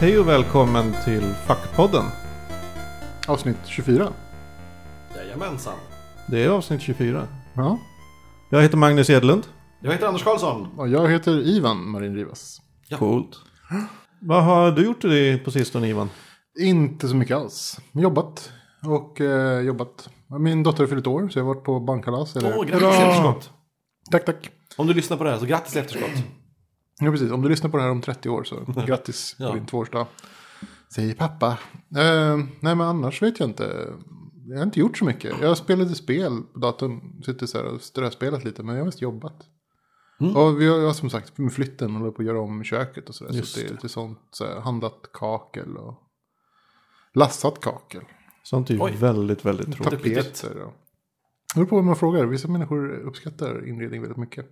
Hej och välkommen till Fackpodden. Avsnitt 24. Jajamensan. Det är avsnitt 24. Ja. Jag heter Magnus Edlund. Jag heter Anders Karlsson. Och jag heter Ivan Marin Rivas. Ja. Coolt. Vad har du gjort det på sistone Ivan? Inte så mycket alls. Jobbat och eh, jobbat. Min dotter har fyllt år så jag har varit på bankkalas. Eller... Åh, grattis i efterskott. Tack, tack. Om du lyssnar på det här så grattis i efterskott. Ja, precis. Om du lyssnar på det här om 30 år så grattis på Ja. din tvåårsdag. Säger pappa. Eh, nej, men annars vet jag inte. Jag har inte gjort så mycket. Jag spelade spel på datorn. Sitter så här och ströspelat lite. Men jag har mest jobbat. Och vi har jag har som sagt med flytten håller på att göra om köket och sådär. Just Så det är lite sånt. Så här, handlat kakel och lassat kakel. Sånt är ju Oj. väldigt, väldigt tråkigt. Tapeter. Ja. Det beror på vem man frågar. Vissa människor uppskattar inredning väldigt mycket.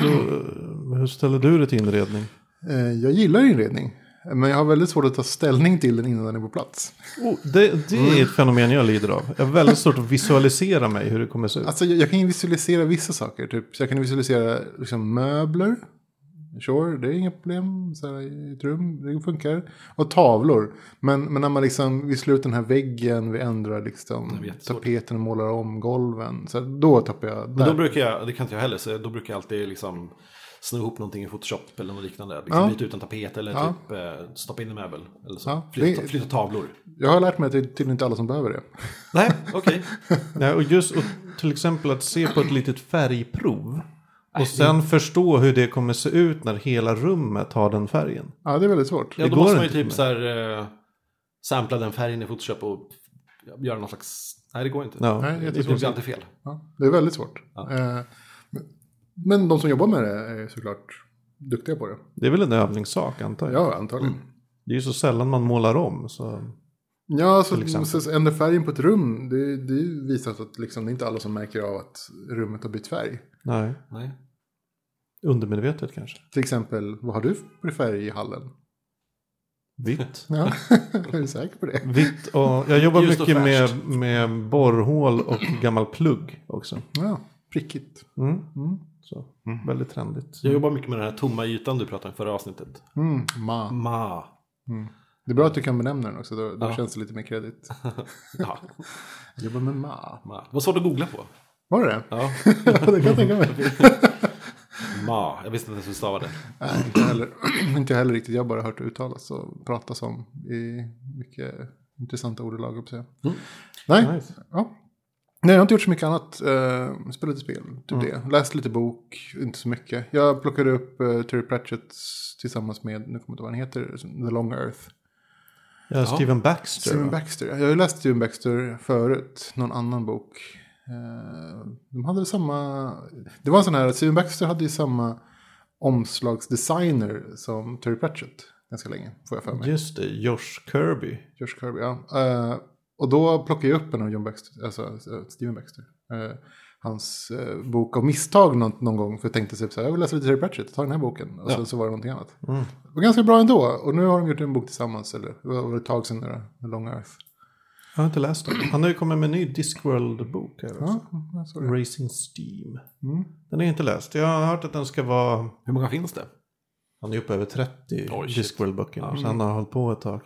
Då, eh, Hur ställer du det till inredning? Eh, jag gillar inredning. Men jag har väldigt svårt att ta ställning till den innan den är på plats. Oh, det, det Mm. är ett fenomen jag lider av. Jag har väldigt svårt att visualisera mig hur det kommer se ut. Alltså jag, jag kan ju visualisera vissa saker. Typ. Så jag kan visualisera liksom, möbler. Sure, det är inga problem. Så här, I ett rum, det funkar. Och tavlor. Men, men när man liksom, vi slår ut den här väggen, vi ändrar liksom, Det är jättesvårt. tapeten och målar om golven. Så här, då tappar jag Men där. då brukar jag, det kan inte jag heller, så då brukar jag alltid liksom sno ihop någonting i Photoshop eller något liknande. Liksom Ja. Byta ut en tapet eller Ja. typ eh, stoppa in en möbel. Eller så. Ja, Flytta, det- flytta tavlor. Jag har lärt mig att det är tydligen inte alla som behöver det. Nej, okej. Nej, och just och till exempel att se på ett litet färgprov. Och sen förstå hur det kommer se ut när hela rummet har den färgen. Ja, det är väldigt svårt. Ja, Det då går måste man ju inte typ med. så här eh, sampla den färgen i Photoshop och göra någon slags... Nej, det går inte. Ja. Nej, Det jättesvårt. blir alltid fel. Ja, det är väldigt svårt. Ja. Eh, men- Men de som jobbar med det är såklart duktiga på det. Det är väl en övningssak antar jag. Ja, antagligen. Det är ju så sällan man målar om. Så. Ja, Till alltså, exempel. så så ändra färgen på ett rum, det, det är ju visat att liksom, det är inte alla som märker av att rummet har bytt färg. Nej. Nej. Undermedvetet kanske. Till exempel, vad har du för färg i hallen? Vitt. Ja, är du säker på det? Vitt och jag jobbar Ljust och mycket med, fräscht. med borrhål och gammal plugg också. Ja, prickigt. Mm. Mm. Så. Väldigt trendigt. Jag jobbar mycket med den här tomma ytan du pratade om i förra avsnittet. Mm, ma. Ma. Det är bra att du kan benämna den också, då, då Ja. känns det lite mer kredit. Ja, Jag jobbar med ma. ma. Det var svårt att googla på. Var det det? Ja. Ja, det kan jag tänka mig. Ma, jag visste inte ens hur vi stavade. Nej, inte heller, inte heller riktigt. Jag har bara hört det uttalas och pratas om i mycket intressanta ordalag. höll jag på att säga. Mm. Nej, Nice. ja. Nej, jag har inte gjort så mycket annat. Uh, spelat lite spel, typ det. Läst lite bok, inte så mycket. Jag plockade upp eh, Terry Pratchett tillsammans med, nu kommer jag inte ihåg vad han heter, The Long Earth. Ja, Steven Baxter. Steven va? Baxter. Jag har ju läst Steven Baxter förut, någon annan bok. Eh, De hade samma... Det var en sån här, Steven Baxter hade ju samma omslagsdesigner som Terry Pratchett ganska länge, får jag för mig. Just det, Josh Kirby. George Kirby, ja. Eh, Och då plockade jag upp en av John Baxter, alltså eh, Steven Baxter. Eh, Hans eh, bok av misstag någon, någon gång. För jag tänkte typ så här, jag vill läsa lite Terry Pratchett, ta den här boken. Och sen så var det någonting annat. Mm. Det var ganska bra ändå. Och nu har de gjort en bok tillsammans. Eller det var ett tag sedan nu då, med Long Earth. Jag har inte läst den. Han har ju kommit med en ny Discworld-bok här också. Ja, jag såg det. Racing Steam. Den är inte läst. Jag har hört att den ska vara... Hur många finns det? Han är uppe över 30 Oj, shit. Discworld-böcker. Så han har hållit på ett tag.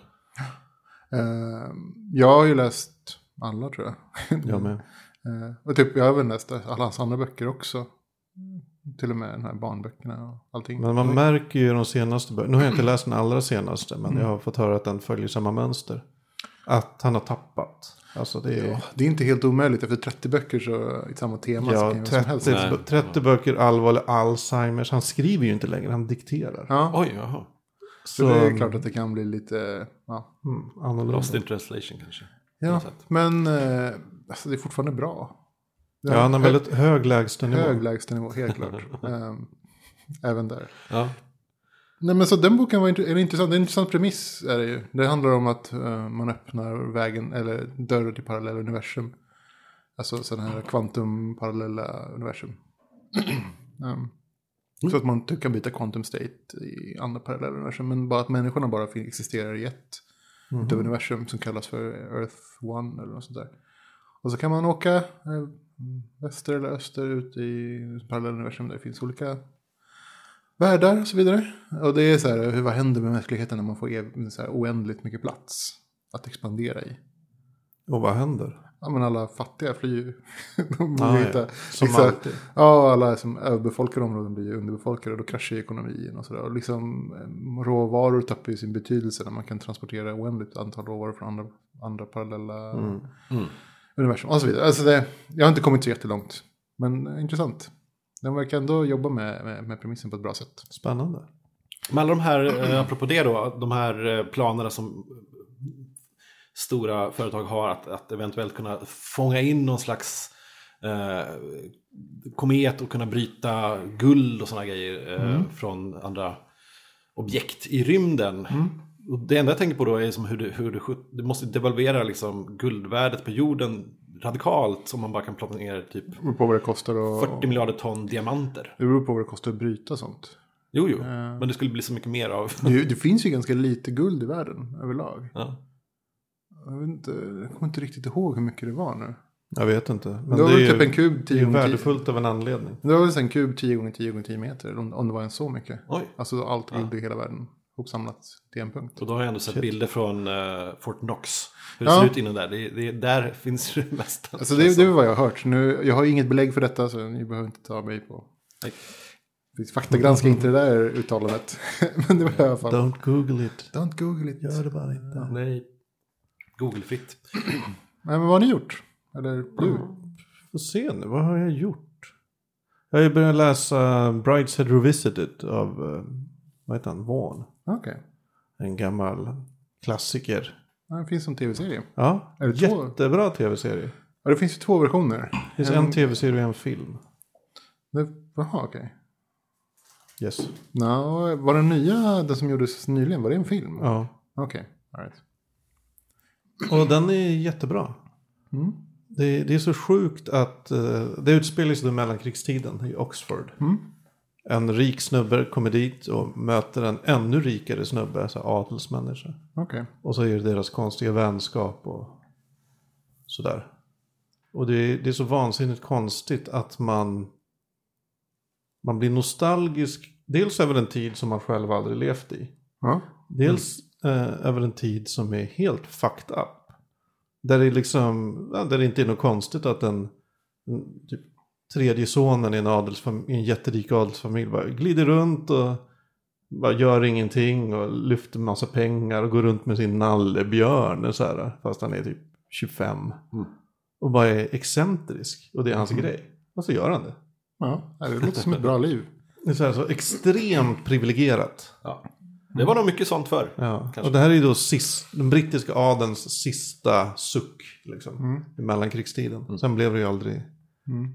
Eh, jag har ju läst alla tror jag. Jag med. Eh, och typ, jag har även läst alla hans andra böcker också. Till och med de här barnböckerna och allting. Men man märker ju de senaste böckerna. Nu har jag Mm. inte läst den allra senaste. Men jag har fått höra att den följer samma mönster. Att han har tappat. Alltså det är... Ja, det är inte helt omöjligt. Efter 30 böcker så, i samma tema så Ja, kan ju vem som helst. 30, Nej. 30 böcker allvarlig Alzheimers. Han skriver ju inte längre, han dikterar. Ja, Oj, jaha. så det är klart att det kan bli lite... Ja, Mm, annorlunda. Lost in translation kanske. På ja något sätt. men eh, alltså, det är fortfarande bra. Ja, han har Hö- väldigt hög lägstanivå. hög lägstanivå, helt klart. Ehm, även där. Ja. Nej men så den boken var int- är intressant. Det är en intressant premiss är det ju. Det handlar om att eh, man öppnar vägen eller dörren till parallella universum. Alltså sådana här kvantumparallella universum. Ehm, Så att man typ kan byta quantum state i andra parallella universum. Men bara att människorna bara fin- existerar i ett utav universum som kallas för Earth One eller något sånt där. Och så kan man åka eh, väster eller öster ut i parallella universum där det finns olika världar och så vidare. Och det är så här, hur, vad händer med mänskligheten när man får ev- så här, oändligt mycket plats att expandera i? Och vad händer? Ja men alla fattiga flyr ju. De Ah, blir ja. ju inte, Som liksom, alltid. Ja, alla som överbefolkade områden blir ju underbefolkade och då kraschar ju ekonomin och sådär. Och liksom eh, råvaror tappar ju sin betydelse när man kan transportera oändligt antal råvaror från andra, andra parallella Mm. universum och så vidare. Alltså det, jag har inte kommit så jättelångt, men eh, intressant. Den verkar ändå jobba med, med, med premissen på ett bra sätt. Spännande. Men alla de här, eh, apropå det då, de här eh, planerna som stora företag har att, att eventuellt kunna fånga in någon slags eh, komet och kunna bryta guld och sådana grejer eh, från andra objekt i rymden. Och det enda jag tänker på då är som hur du, hur du, sjut- du måste devalvera liksom guldvärdet på jorden radikalt om man bara kan plocka ner typ Det beror på vad det kostar och... 40 miljarder ton diamanter. Det beror på vad det kostar att bryta sånt. Jo, jo, men det skulle bli så mycket mer av. Det, det finns ju ganska lite guld i världen överlag. Ja. Jag, vet inte, jag kommer inte riktigt ihåg hur mycket det var nu. Jag vet inte. Men Men det var är väl ju typ en kub det är 10 ju gånger 10. värdefullt av en anledning. Det var väl en kub 10 gånger 10 gånger 10 meter. Om, om det var en så mycket. Oj. Alltså allt guld i hela världen hopsamlat till en punkt. Och då har jag ändå sett bilder från eh, Fort Knox. Hur det Ja. ser ut innan där. Det, det, där finns det mesta. Alltså det, det är vad jag har hört. Nu, jag har inget belägg för detta så ni behöver inte ta mig på. Nej. Faktagranska inte det där uttalandet. Men det var i alla fall. Don't, Don't google it. google it. Gör det bara inte. Nej. Google-fritt. Nej, men vad har ni gjort? Eller du? Mm. Får se nu, vad har jag gjort? Jag har ju börjat läsa Brideshead Revisited av, eh, vad heter han, Vaughn. Okej. En gammal klassiker. Ja, Det finns som tv-serie. Ja, Är det två? jättebra tv-serie. Ja, det finns ju två versioner. Det finns en tv-serie och en film. Det- Jaha, okej. Yes. Nå, var den nya, den som gjordes nyligen, var det en film? Ja. Okej, all right. Och den är jättebra. Mm. Det, det är så sjukt att eh, det utspelar sig under mellankrigstiden i Oxford. Mm. En rik snubbe kommer dit och möter en ännu rikare snubbe, alltså adelsmänniska. Okej. Och så är det deras konstiga vänskap och sådär. Och det är, det är så vansinnigt konstigt att man, man blir nostalgisk. Dels över en tid som man själv aldrig levt i. Ja. Dels eh, över en tid som är helt fucked up. Där det, är liksom, ja, där det inte är något konstigt att en, en typ, tredje sonen i en, adelsfam- i en jätterik adelsfamilj bara glider runt och bara gör ingenting och lyfter massa pengar och går runt med sin nallebjörn så här, fast han är typ 25. Och bara är excentrisk och det är hans grej. Och så gör han det. ja, det låter som ett bra liv. Det är så, här, så extremt privilegierat. Ja. Det var nog mycket sånt förr. Ja, Kanske. och det här är ju då sist, den brittiska adens sista suck liksom, i mellankrigstiden. Sen blev det ju aldrig Mm.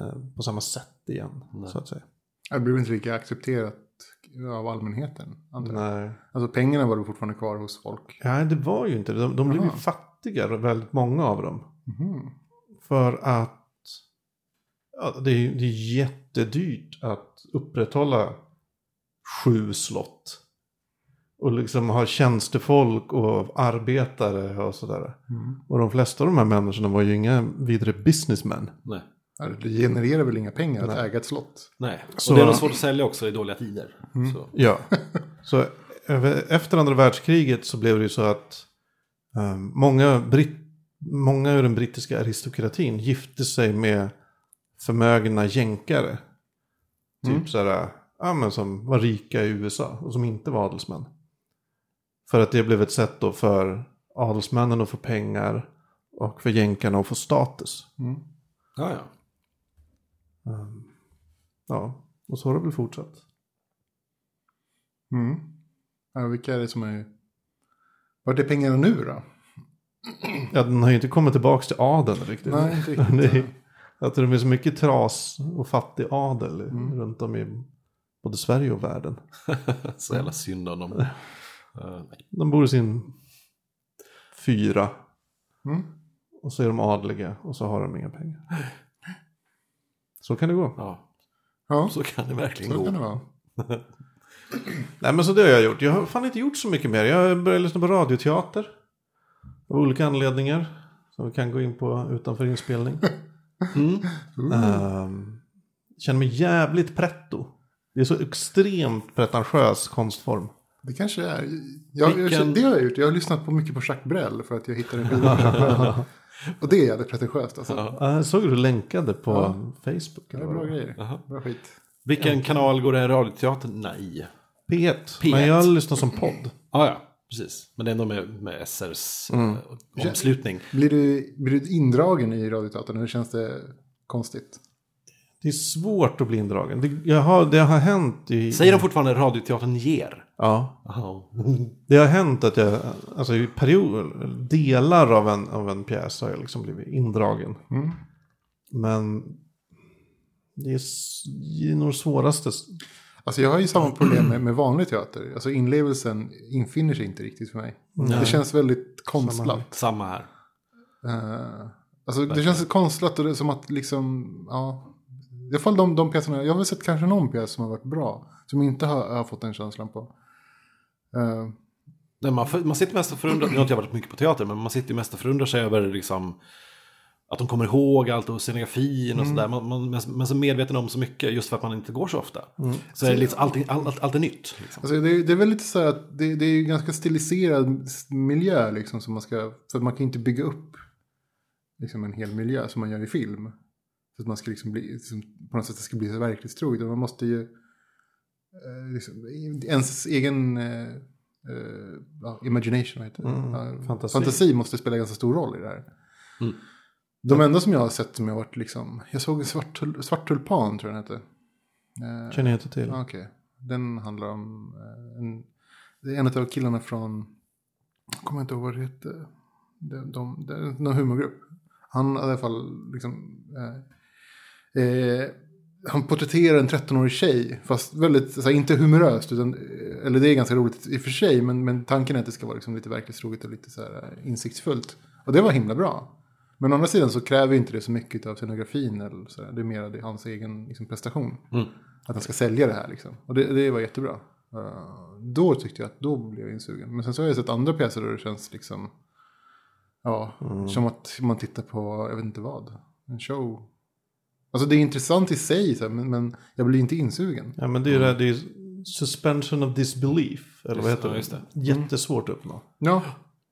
eh, på samma sätt igen, så att säga. Det blev inte lika accepterat av allmänheten. antar jag. Nej. Alltså pengarna var då fortfarande kvar hos folk. Nej, det var ju inte det. De, de blev ju Jaha. fattigare, väldigt många av dem. Mhm. För att ja, det, är, det är jättedyrt att upprätthålla sju slott. Och liksom ha tjänstefolk och arbetare och sådär. Mm. Och de flesta av de här människorna var ju inga vidare businessmen. Nej. Ja, Det genererar väl inga pengar att äga ett slott? Nej. Så- Och det är nog svårt att sälja också i dåliga tider. Mm. Så. Ja. Så över- efter andra världskriget så blev det ju så att eh, många, britt, många ur den brittiska aristokratin gifte sig med förmögna jänkare. Typ Mm. sådär, ja men som var rika i USA och som inte var adelsmän. För att det blev ett sätt då för adelsmännen att få pengar och för jänkarna att få status. Ehm, Mm. Ja, ja. Ja, och så har det väl fortsatt. Mm. Ja, vilka är det som är... Vart är pengarna nu då? Ja, den har ju inte kommit tillbaka till adeln riktigt. Nej, inte riktigt. Det är- Att det är så mycket tras och fattig adel Mm. runt om i både Sverige och världen. Så jävla synd om dem. Eh, nej. De bor i sin fyra. Mm. Och så är de adliga och så har de inga pengar. Så kan det gå. ja. Ja, så, Så kan det verkligen kan det gå. vara. Nej men så det har jag gjort. Jag har fan inte gjort så mycket mer. Jag började lyssna på radioteater. Av olika anledningar. Som vi kan gå in på utanför inspelning. Mm. Ehm, känner mig jävligt pretto. Det är så extremt pretentiös konstform. Det kanske det är. Jag, Vilken- jag, det har jag gjort. Jag har lyssnat på mycket på Jacques Brel för att jag hittade en skiva på Jacques Brel. Och det är jävligt pretentiöst alltså. Jag Eh, såg du länkade på Facebook. Det eller är vad bra det var? grejer. Jaha. Bra skit. Vilken kanal går det här radioteatern? Nej. P1. P1. Men jag lyssnar som podd. Ah, ja, precis. Men det är ändå med, med SRs Mm. eh, omslutning. Blir du, blir du indragen i radioteatern eller känns det konstigt? Det är svårt att bli indragen. Det, jag har, det har hänt i... Säger de fortfarande radioteatern ger? Ja. Jaha. Det har hänt att jag, alltså i perioder, delar av en, av en pjäs har jag liksom blivit indragen. Mm. Men det är, s- det är nog det svåraste. Alltså jag har ju samma problem med, med vanlig teater. Alltså inlevelsen infinner sig inte riktigt för mig. Det känns väldigt konstlat. Samma här. Eh, alltså det känns konstlat och det är som att liksom, ja. I alla fall de, de pjäserna, jag har väl sett kanske någon pjäs som har varit bra. Som inte har, har fått den känslan på. Eh, Nej, man, för- man sitter mest och förundrar, nu har inte jag varit mycket på teater, men man sitter ju mest och förundrar sig över liksom, att de kommer ihåg allt och scenografin och sådär. Man, man, men- men så medveten om så mycket just för att man inte går så ofta. Mm. Så är det liksom, allting, all, allt, allt är nytt. Liksom. Alltså det, det är väl lite så här att det, det är ju ganska stiliserad s- miljö liksom som man ska, för att man kan inte bygga upp liksom en hel miljö som man gör i film. Så att man ska liksom bli, liksom, på något sätt det ska bli så verklighetstroget. utan Man måste ju, eh, liksom, ens egen eh, eh, ja, imagination, vad heter det? Mm, Ja, fantasi. fantasi måste spela ganska stor roll i det här. Mm. De enda som jag har sett som jag har varit liksom, jag såg en svart, tul- svart tulpan tror jag den hette. Eh, Känner jag inte till. Ja, Okej, den handlar om eh, en, det är en av killarna från, jag kommer inte ihåg vad det hette, de, de, det är någon humorgrupp. Han i alla fall liksom, eh, eh, han porträtterar en 13-årig tjej, fast väldigt, så här, inte humoröst, utan, eh, eller det är ganska roligt i och för sig, men, men tanken är att det ska vara liksom lite verklighetstroget och lite så här, eh, insiktsfullt. Och det var himla bra. Men å andra sidan så kräver ju inte det så mycket av scenografin. Eller så där. Det är mer det- hans egen liksom, prestation. Att han ska sälja det här liksom. Och det, det var jättebra. Eh, då tyckte jag att då blev jag insugen. Men sen så har jag sett andra pjäser där det känns liksom. Ja, Mm. som att man tittar på, jag vet inte vad. En show. Alltså det är intressant i sig, så här, men, men jag blir inte insugen. Ja, men det är ju det, här, Mm. det är suspension of disbelief. Eller vad Just- heter ja, det? just det. Mm. Jättesvårt att uppnå. Ja,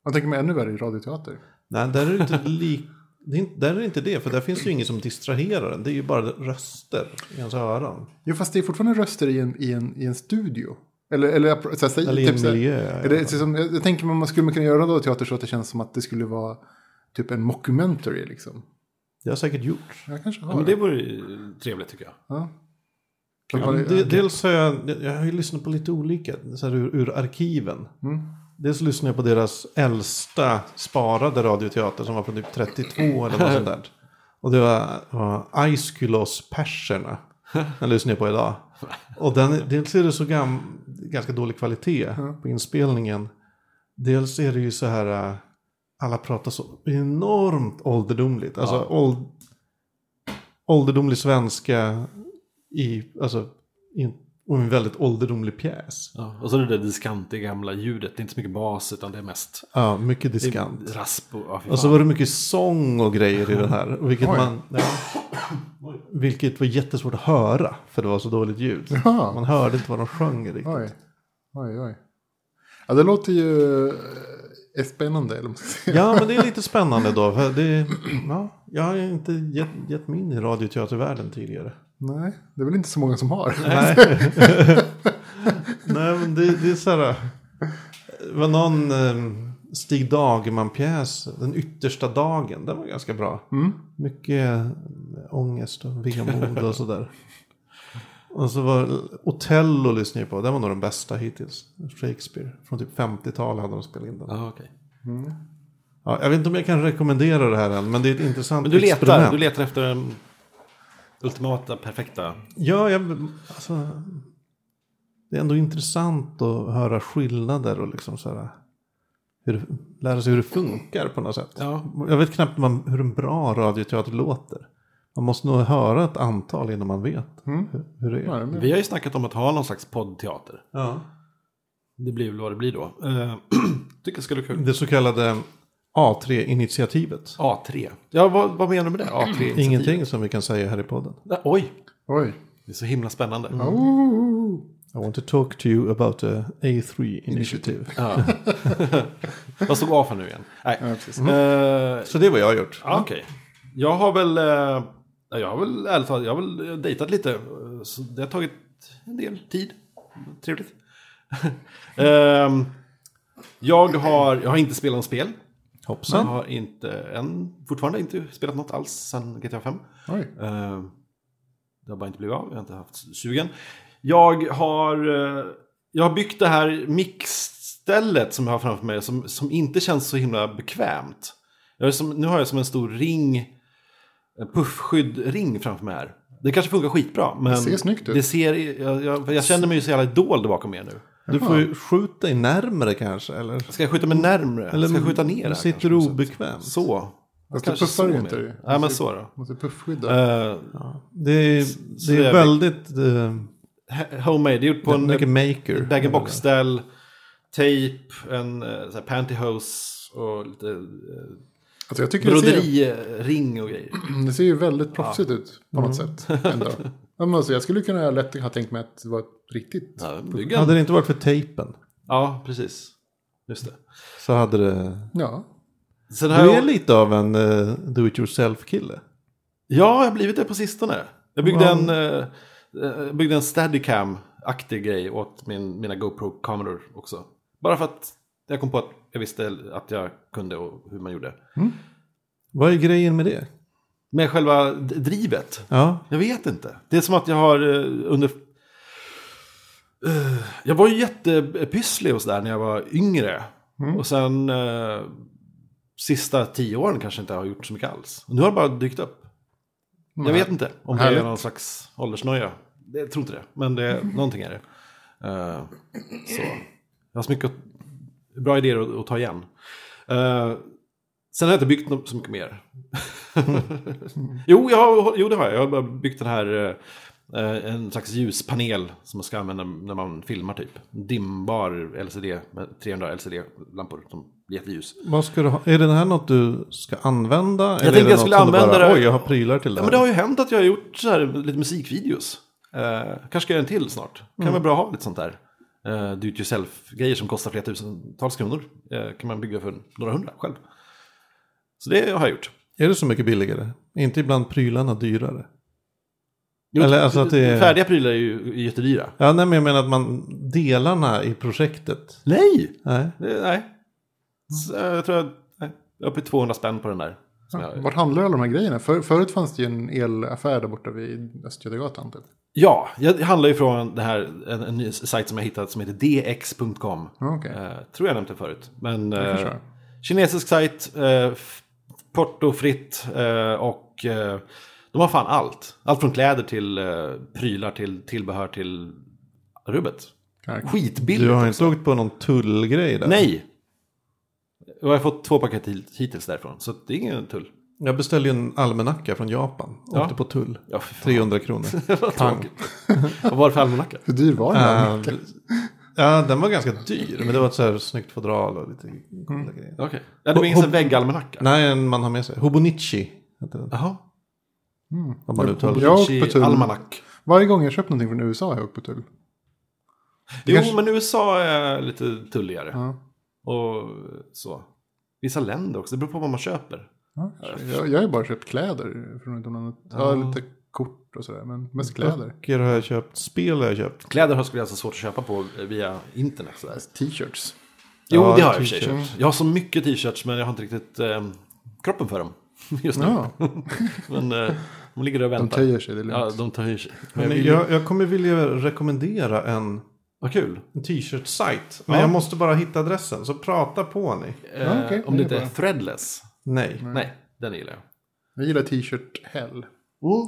jag tänker mig ännu värre i radioteater. Nej, där är det inte lik... Det är inte, där är det inte det, för där finns det ju ingen som distraherar en. Det är ju bara röster i ens öron. Jo, fast det är fortfarande röster i en, i en, i en studio. Eller, eller, så här, säg- typ Eller i en så här- miljö, är ja. det, så som, jag, jag tänker man man skulle kunna göra då teater så att det känns som att det skulle vara typ en mockumentary liksom. Det har säkert gjorts. Jag kanske har Ja, men det vore ju trevligt tycker jag. Ja. Ja, men det, dels har jag, jag har ju lyssnat på lite olika, så här ur, ur arkiven. Dels lyssnade jag på deras äldsta sparade radioteater som var från typ 32 eller något sånt där. Och det var, var Aiskylos perserna. Den lyssnade jag på idag. Och den, dels är det så gam, ganska dålig kvalitet på inspelningen. Dels är det ju så här, äh, alla pratar så enormt ålderdomligt. Alltså åld, ålderdomlig svenska i, alltså, i en, och en väldigt ålderdomlig pjäs. Ja. Och så det där diskantiga gamla ljudet, det är inte så mycket bas utan det är mest Ja, mycket det är diskant. rasp och... Ja, fy Och så fan. var det mycket sång och grejer i den här. och Vilket, Oj. man, ja, vilket var jättesvårt att höra. För det var så dåligt ljud. Jaha. Man hörde inte vad de sjöng riktigt. Oj, oj, oj. Ja, det låter ju eh, spännande. Eller vad man ska säga. Ja, men det är lite spännande då. För det, ja, jag har ju inte gett, gett mig in i radioteatervärlden tidigare. Nej, det är väl inte så många som har. Nej. Nej, men det, det är så här. Det var någon eh, Stig Dagerman-pjäs, Den yttersta dagen, den var ganska bra. Mm. Mycket eh, ångest och vemod och sådär. Och så var Otello lyssnade jag på, den var nog den bästa hittills. Shakespeare, från typ 50-talet hade de spelat in den. Ja, okej. Ja, jag vet inte om jag kan rekommendera det här än, men det är ett intressant Men du letar, experiment. du letar efter den ultimata, perfekta. Ja, jag, alltså, det är ändå intressant att höra skillnader och liksom så här, hur, det- lära sig hur det funkar på något sätt. Ja. Jag vet knappt man, hur en bra radioteater låter. Man måste nog höra ett antal innan man vet hur, hur det är. Ja, det är med. Vi har ju snackat om att ha någon slags poddteater. Ja. Det blir väl vad det blir då. Eh, tycker det skulle vara kul. Det så kallade A3-initiativet. A3. Ja, vad, vad menar du med det? A3? Ingenting som vi kan säga här i podden. Nej, Oj, Oj, Det är så himla spännande. Oh. I want to talk to you about the A3 initiative. Ja. Vad stod A för nu igen? Nej. Ja, precis. Eh, Så det är vad jag har gjort. Ja, Okej. Jag har väl, eh, jag har väl ärligt talat, jag har väl dejtat lite. eh, Så det har tagit en del tid. Trevligt. Ehm, jag, har, jag har inte spelat något spel. Jag Hoppsan. har inte, än, fortfarande inte spelat något alls sedan GTA 5. Oj. Eh, Det har bara inte blivit av, jag har inte haft sugen. Jag har, eh, jag har byggt det här mixstället som jag har framför mig som, som inte känns så himla bekvämt. Jag är som, nu har jag som en stor ring, en puffskydd-ring framför mig här. Det kanske funkar skitbra, men det ser snyggt ut. Det ser, jag, jag, jag känner mig ju så jävla dold bakom er nu. Du får ju skjuta dig närmare kanske. Eller? Ska jag skjuta mig närmre? Eller, Ska jag skjuta ner Du här, sitter kanske? du obekvämt. Så. Fast Kanske du puffar så ju inte mer. dig. Nej, men så då. Måste puffskydda. Eh, Det är, det jag är vet. väldigt... Uh, he- homemade, det är gjort på en mycket maker. bag-in-box-ställ, tejp, en eh, så här, pantyhose och lite eh, alltså jag tycker det ser, broderiring och grejer. Mm. det ser ju väldigt proffsigt ut på något Mm. sätt. Ändå. Ja, men alltså, jag skulle kunna lätt ha tänkt mig att det var ett riktigt. Ja, bygga en- Hade det inte varit för tejpen ja, precis. Just det. så hade det... Ja. Sen har Du är jag, lite av en eh, do it yourself-kille. ja, jag har blivit det på sistone. Jag byggde Ja. en, eh, eh, jag byggde en Steadicam-aktig grej åt min, mina GoPro-kameror också. Bara för att jag kom på att jag visste att jag kunde och hur man gjorde. Vad är grejen med det? Men själva d- drivet, Ja, Jag vet inte. Det är som att jag har eh, under... Eh, jag var ju jättepysslig och sådär när jag var yngre. Och sen eh, sista tio åren kanske inte har gjort så mycket alls. Och nu har det bara dykt upp. Jag vet inte om det är Härligt. någon slags åldersnöja. Det- Jag tror inte det, men det, någonting är det. Eh, så. Jag har så mycket att- bra idéer att, att ta igen. Eh, sen har jag inte byggt nå- så mycket mer. jo, jag har, jo, det har jag. Jag har bara byggt den här, eh, en slags ljuspanel som man ska använda när man filmar typ. Dimbar LCD, med 300 LCD-lampor som blir jätteljus. vad ska du ha? Är det här något du ska använda? Jag eller är tänkte det jag skulle något som du använda bara, det- Oj, jag har prylar till det Ja, här. men det har ju hänt att jag har gjort så här, lite musikvideos. Eh, kanske ska jag göra en till snart. Kan Mm. vara bra att ha lite sånt där. Eh, do it yourself-grejer som kostar flera tusentals kronor. Eh, kan man bygga för några hundra själv. Så det har jag gjort. Är det så mycket billigare? Är inte ibland prylarna dyrare? Jo, Eller, alltså, att det är- Färdiga prylar är ju är jättedyra. Ja, nej, men jag menar att man delarna i projektet. Nej! Nej. Det, nej. Så, eh, jag tror jag... Nej. Jag är uppe i 200 spänn på den där. Som jag, Vart handlar alla de här grejerna? För, förut fanns det ju en elaffär där borta vid Östgötagatan. Typ. ja, jag handlar ju från det här, en, en ny sajt som jag hittat som heter dx.com. Ja, Okej. Eh, tror jag nämnt det förut. Men kanske eh, jag. kinesisk sajt, eh, f- portofritt eh, och eh, de har fan allt. Allt från kläder till eh, prylar till tillbehör till rubbet. Knark. Skitbilligt. Du har inte åkt på någon tullgrej där? Nej! Och jag har fått två paket hit- hittills därifrån, så det är ingen tull. Jag beställde ju en almanacka från Japan. Ja. Åkte på tull. Ja, fy fan. 300 kronor. Vad tråkigt. Vad var det för almanacka? Hur dyr var den här? Eh, ja, den var ganska dyr. Men det var ett så här snyggt fodral och lite coola grejer. Okej. Ja, det var ingen sån här väggalmanacka? Nej, en man har med sig. Hobonichi heter den. Jaha. Om man uttalar det. Jag har åkt på Chi- tull. Almanack. Varje gång jag köpt någonting från USA har jag åkt på tull. Jo, kanske- men USA är lite tulligare. Ja. Och så. Vissa länder också, det beror på vad man köper. Ja, jag, jag har ju bara köpt kläder från utomlandet. Ja, lite kort och sådär, men mest kläder. Böcker har jag köpt, spel har jag köpt. Kläder har- skulle jag alltså svårt att köpa på via internet. Sådär. T-shirts. Jo, Ja, det har jag i och för sig t-shirts. köpt. Jag har så mycket t-shirts men jag har inte riktigt eh, kroppen för dem just nu. Ja, Men eh, de ligger där och de väntar. töjer sig, det är lugnt. ja, de töjer sig. Men jag Men vill... jag, jag kommer vilja rekommendera en, Vad kul. en t-shirt-sajt. Men jag måste bara hitta adressen, så prata på ni. Eh, Ja, okej, om det det är inte är bra. threadless. Nej. Nej, den gillar jag. Jag gillar t-shirt hell. Oh.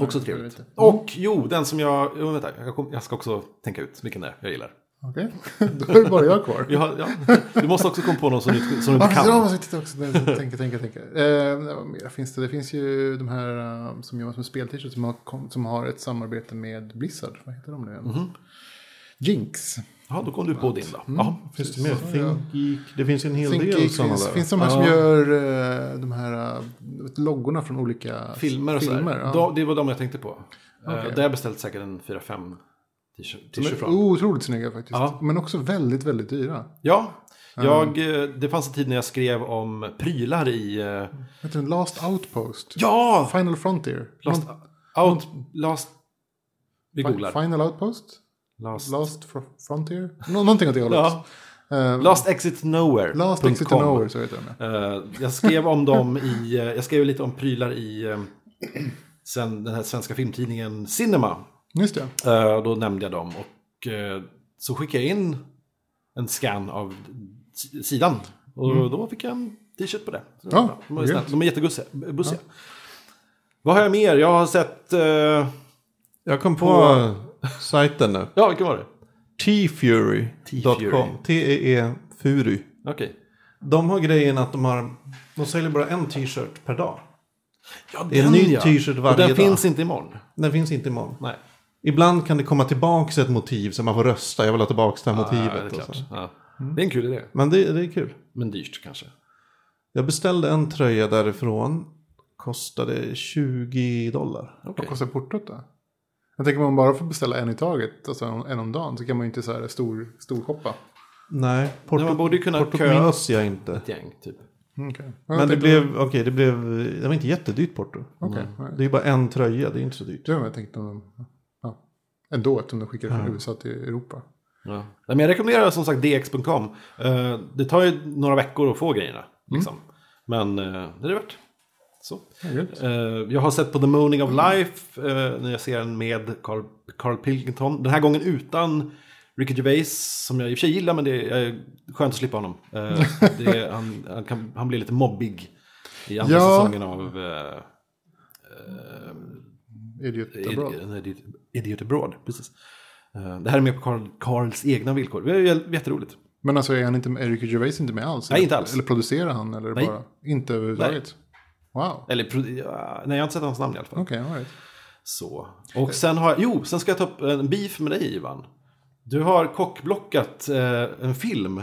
Också det Mm. trevligt. vet Och jo, den som jag... Jo, vänta, jag, kom, jag ska också tänka ut vilken det är jag gillar. Okej, då är det bara jag kvar. Jag, har- ja, du måste också komma på någon som du, som du Ja, inte precis, jag kan. måste titta också. Nej, Tänka, tänka, tänka. Eh, vad mer finns det? det finns ju de här eh, som jobbar med spel-t-shirts som har, kom- som har ett samarbete med Blizzard. Vad heter de nu igen? Jinx. Ja, då kom du på din då. Ja. Finns det mer? Think Geek. Det finns en hel Think del Geek sådana finns, där. finns de här som gör eh, de här eh, loggorna från olika Filmer och filmer sådär. ja. Ja. Det var de jag tänkte på. Eh, Okej. Där har jag beställt säkert en 4-5 t-shirt- De t-shirt är Oh. från. otroligt snygga faktiskt. Ja. Men också väldigt, väldigt dyra. Ja, jag, eh, det fanns en tid när jag skrev om prylar i... eh, Heter den Last Outpost? Ja! Final Frontier? Last... Out... Last... Vi Fi- googlar. Final Outpost? Last, Last Fro- Frontier? Nå- någonting åt det hållet. Ja. Eh, last Exit Nowhere. Last punkt Exit com. and Over, så heter den. ja. Eh, jag skrev om dem i... eh, jag skrev lite om prylar i... eh, sen den här svenska filmtidningen Cinema. Just det. Eh, och då nämnde jag dem. Och eh, så skickade jag in en scan av s- sidan. Och då fick jag en t-shirt på det. Så det var Ja, bra. de, var ju grymt. snälla. de är jättebussiga. bussiga. Vad har jag mer? Jag har sett... eh, Jag kom på sajten nu. ja, vilken var det? T-Fury.com. T-E-E E Fury. Okej. De har grejen att de har... De säljer bara en t-shirt per dag. Ja, Det är en den, ny ja. t-shirt Och varje den dag. finns inte imorgon. Den finns inte imorgon. Nej. Ibland kan det komma tillbaka ett motiv så man får rösta. Jag vill ha tillbaka det här Ja, det, är motivet. och klart. så. Ja. det är en kul idé. Men det, det är kul. Men dyrt kanske. Jag beställde en tröja därifrån. Kostade 20 dollar. Okej. Vad kostar portot då? Jag tänker om man bara får beställa en i taget, alltså en en om dagen, så kan man ju inte så här stor, stor shoppa. Nej, Nej, man portot borde ju kunna portot köa minns jag inte. ett gäng typ. Mm, okej. Ja, Men jag det tänkte- blev, okej, det blev, det var inte jättedyrt porto. Okej, Mm. nej. Det är ju bara en tröja, det är inte så dyrt. Det var vad jag tänkte om de... Ja. Ändå, eftersom de skickar från USA till Europa. Ja. Nej, men jag rekommenderar som sagt dx.com. Eh, det tar ju några veckor att få Mm. grejerna. Liksom. Men eh, det är det värt. Så. Ja, grymt. Eh, jag har sett på The Moaning of Life eh, när jag ser den med Carl, Carl Pilkington. Den här gången utan Ricky Gervais som jag i och för sig gillar men det är eh, skönt att slippa honom. Eh, det är, han, han, kan, han blir lite mobbig i andra Ja. säsongen av eh, Idiot abroad. Idiot- nej, Idiot- Idiot Abroad. Precis. Eh, Det här är mer på Carl, Carls egna villkor. Det är jätteroligt. Men alltså är, han inte, är Ricky Gervais inte med alls? Nej, Eller- inte alls. Eller producerar han? Eller Nej. bara? Inte överhuvudtaget? Wow. Eller, pro- ja, nej jag har inte sett hans namn i alla fall. Okej, all right. Så. Och sen har jag, jo, sen ska jag ta upp en beef med dig Ivan. Du har kockblockat eh, en film.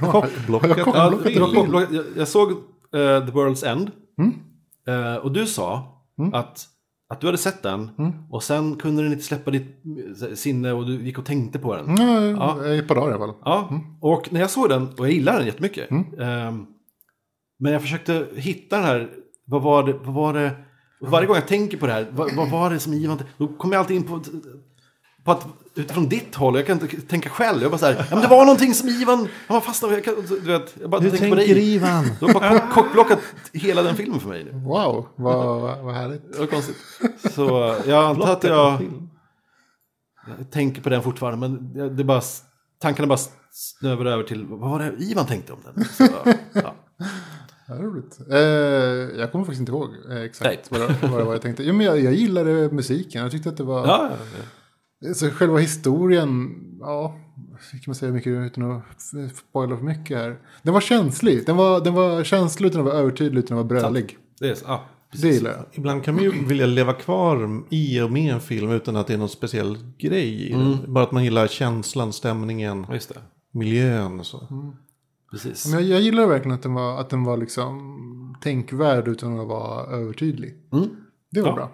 Kockblockat. Har jag Ja, kockblockat du har eller? kockblockat- jag, jag såg eh, The World's End. Mm. Eh, och du sa att, att du hade sett den Mm. och sen kunde den inte släppa ditt eh, sinne och du gick och tänkte på den. Nej, i ett par dagar i alla fall. Ja, Mm. och när jag såg den, och jag gillar den jättemycket. ehm, men jag försökte hitta den här, vad var det, vad var det, och varje gång jag tänker på det här, vad, vad var det som givande, då kommer jag alltid in på, på att utifrån ditt håll, jag kan inte tänka själv, jag bara så här, ja men det var någonting som Ivan, han var fastnat, jag kan, du vet, jag bara Hur tänker på tänker dig. Ivan? Du har bara kock- kockblockat hela den filmen för mig nu. Wow, vad, vad, vad härligt. Det var konstigt. Så jag antar att jag Film. tänker på den fortfarande, men det det bara, tankarna bara snövar över till vad var det Ivan tänkte om den? Så, ja. Ja, roligt. Eh, jag kommer faktiskt inte ihåg eh, exakt Nej. vad det, vad det var jag tänkte. Jo, men jag, jag gillade musiken. Jag tyckte att det var... Ja, ja, Så själva historien, ja, hur kan man säga mycket utan att f- spoila för mycket här. Den var känslig. Den var, den var känslig utan att vara övertydlig utan att vara brölig. det är så. Ja. Det gillar jag. Ibland kan man ju vilja leva kvar i och med en film utan att det är någon speciell grej i Mm. den. Bara att man gillar känslan, stämningen, ja, just det. miljön och så. Mm. Precis. Men jag, jag gillar verkligen att den var, att den var liksom tänkvärd utan att vara övertydlig. Det var Mm. Ja. bra.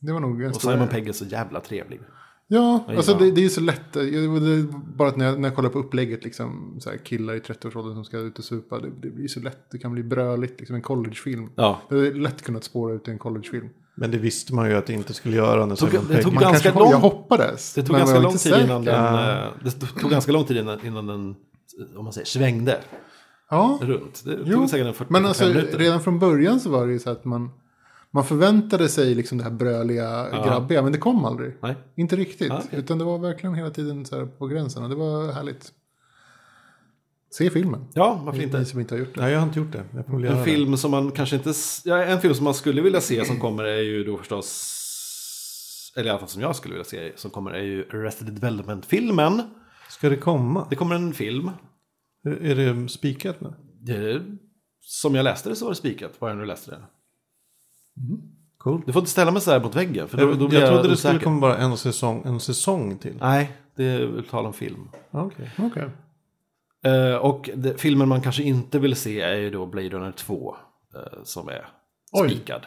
Det var nog en Och stor- Simon Pegg är så jävla trevlig. Ja, alltså ja. det, det är ju så lätt. Jag- det är Bara att när jag, när jag kollar på upplägget, liksom, så här, killar i 30-årsåldern som ska ut och supa, det, det blir så lätt. Det kan bli bröligt, liksom en collegefilm. Ja. Det är lätt kunnat spåra ut i en collegefilm. Men det visste man ju att det inte skulle göra när Tog- Simon det Pegg... tog- Man ganska kanske, Jag lång- hoppades. Det tog men ganska jag var lång inte tid säker. innan den, eh, det tog ganska lång tid innan, innan den, om man säger svängde Ja, runt. Det tog jo. säkert en 40 Men alltså, minuter. redan från början så var det ju så att man, man förväntade sig liksom det här bröliga, grabbiga, men det kom aldrig. Nej. Inte riktigt, Ah, okej. utan det var verkligen hela tiden så här på gränsen och det var härligt. Se filmen. Ja, varför inte? Ni som inte har gjort det. Nej, jag har inte gjort det. Jag får väl göra En det. film som man kanske inte... s- Ja, en film som man skulle vilja se som kommer är ju då förstås... Eller i alla fall som jag skulle vilja se som kommer är ju Arrested Development-filmen. Ska det komma? Det kommer en film. Är det spikat nu? Det, som jag läste det så var det spikat, var jag nu läste det. Coolt. Du får inte ställa mig så här mot väggen, för då, Mm. Jag, då blir jag trodde det osäker. skulle komma bara en säsong, en säsong till. Nej, det är tal om film. Okej. Okej. Eh, och det, filmen man kanske inte vill se är ju då Blade Runner 2, eh, som är Oj. spikad.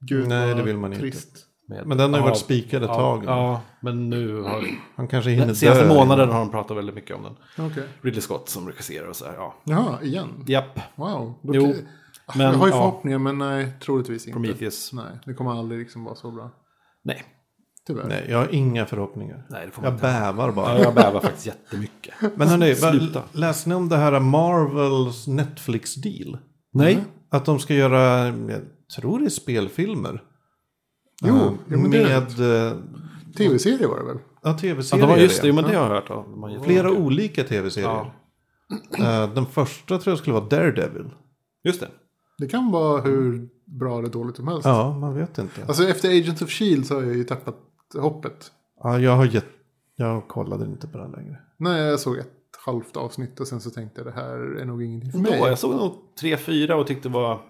Gud, Nej, vad det vill man inte. trist. Med, Men den har ju Ja, varit spikad ett ja, tag. Ja, men nu har... Han kanske hinner Den senaste dö. månaden har de pratat väldigt mycket om den. Okej. Ridley Scott som regisserar och så här. Ja. Jaha, igen. Japp. Wow. Då- Jo, Ah, men, jag har ju ja. förhoppningar men nej, troligtvis inte. Prometheus. Nej, det kommer aldrig liksom vara så bra. Nej. Tyvärr. Nej, jag har inga förhoppningar. Nej, det får man Jag inte. bävar Ja, bara. jag bävar faktiskt jättemycket. Men hörni, Sluta. läste ni om det här Marvels Netflix-deal? Mm. Nej. Att de ska göra, jag tror det är spelfilmer. Jo, Eh, jo, men det är Med eh, Tv-serie var det väl? ja, Ja, tv-serier. det var just det, jo, men Ja. det har jag hört. om. Man gör Flera olika. olika tv-serier. Eh, Den första tror jag skulle vara Daredevil. Just det. Det kan vara hur bra eller dåligt som helst. Ja, man vet inte. Alltså efter Agents of Shield så har jag ju tappat hoppet. Ja, jag, har gett, jag kollade inte på den längre. Nej, jag såg ett halvt avsnitt och sen så tänkte jag det här är nog ingenting för Då, mig. jag såg nog tre, fyra och tyckte det var...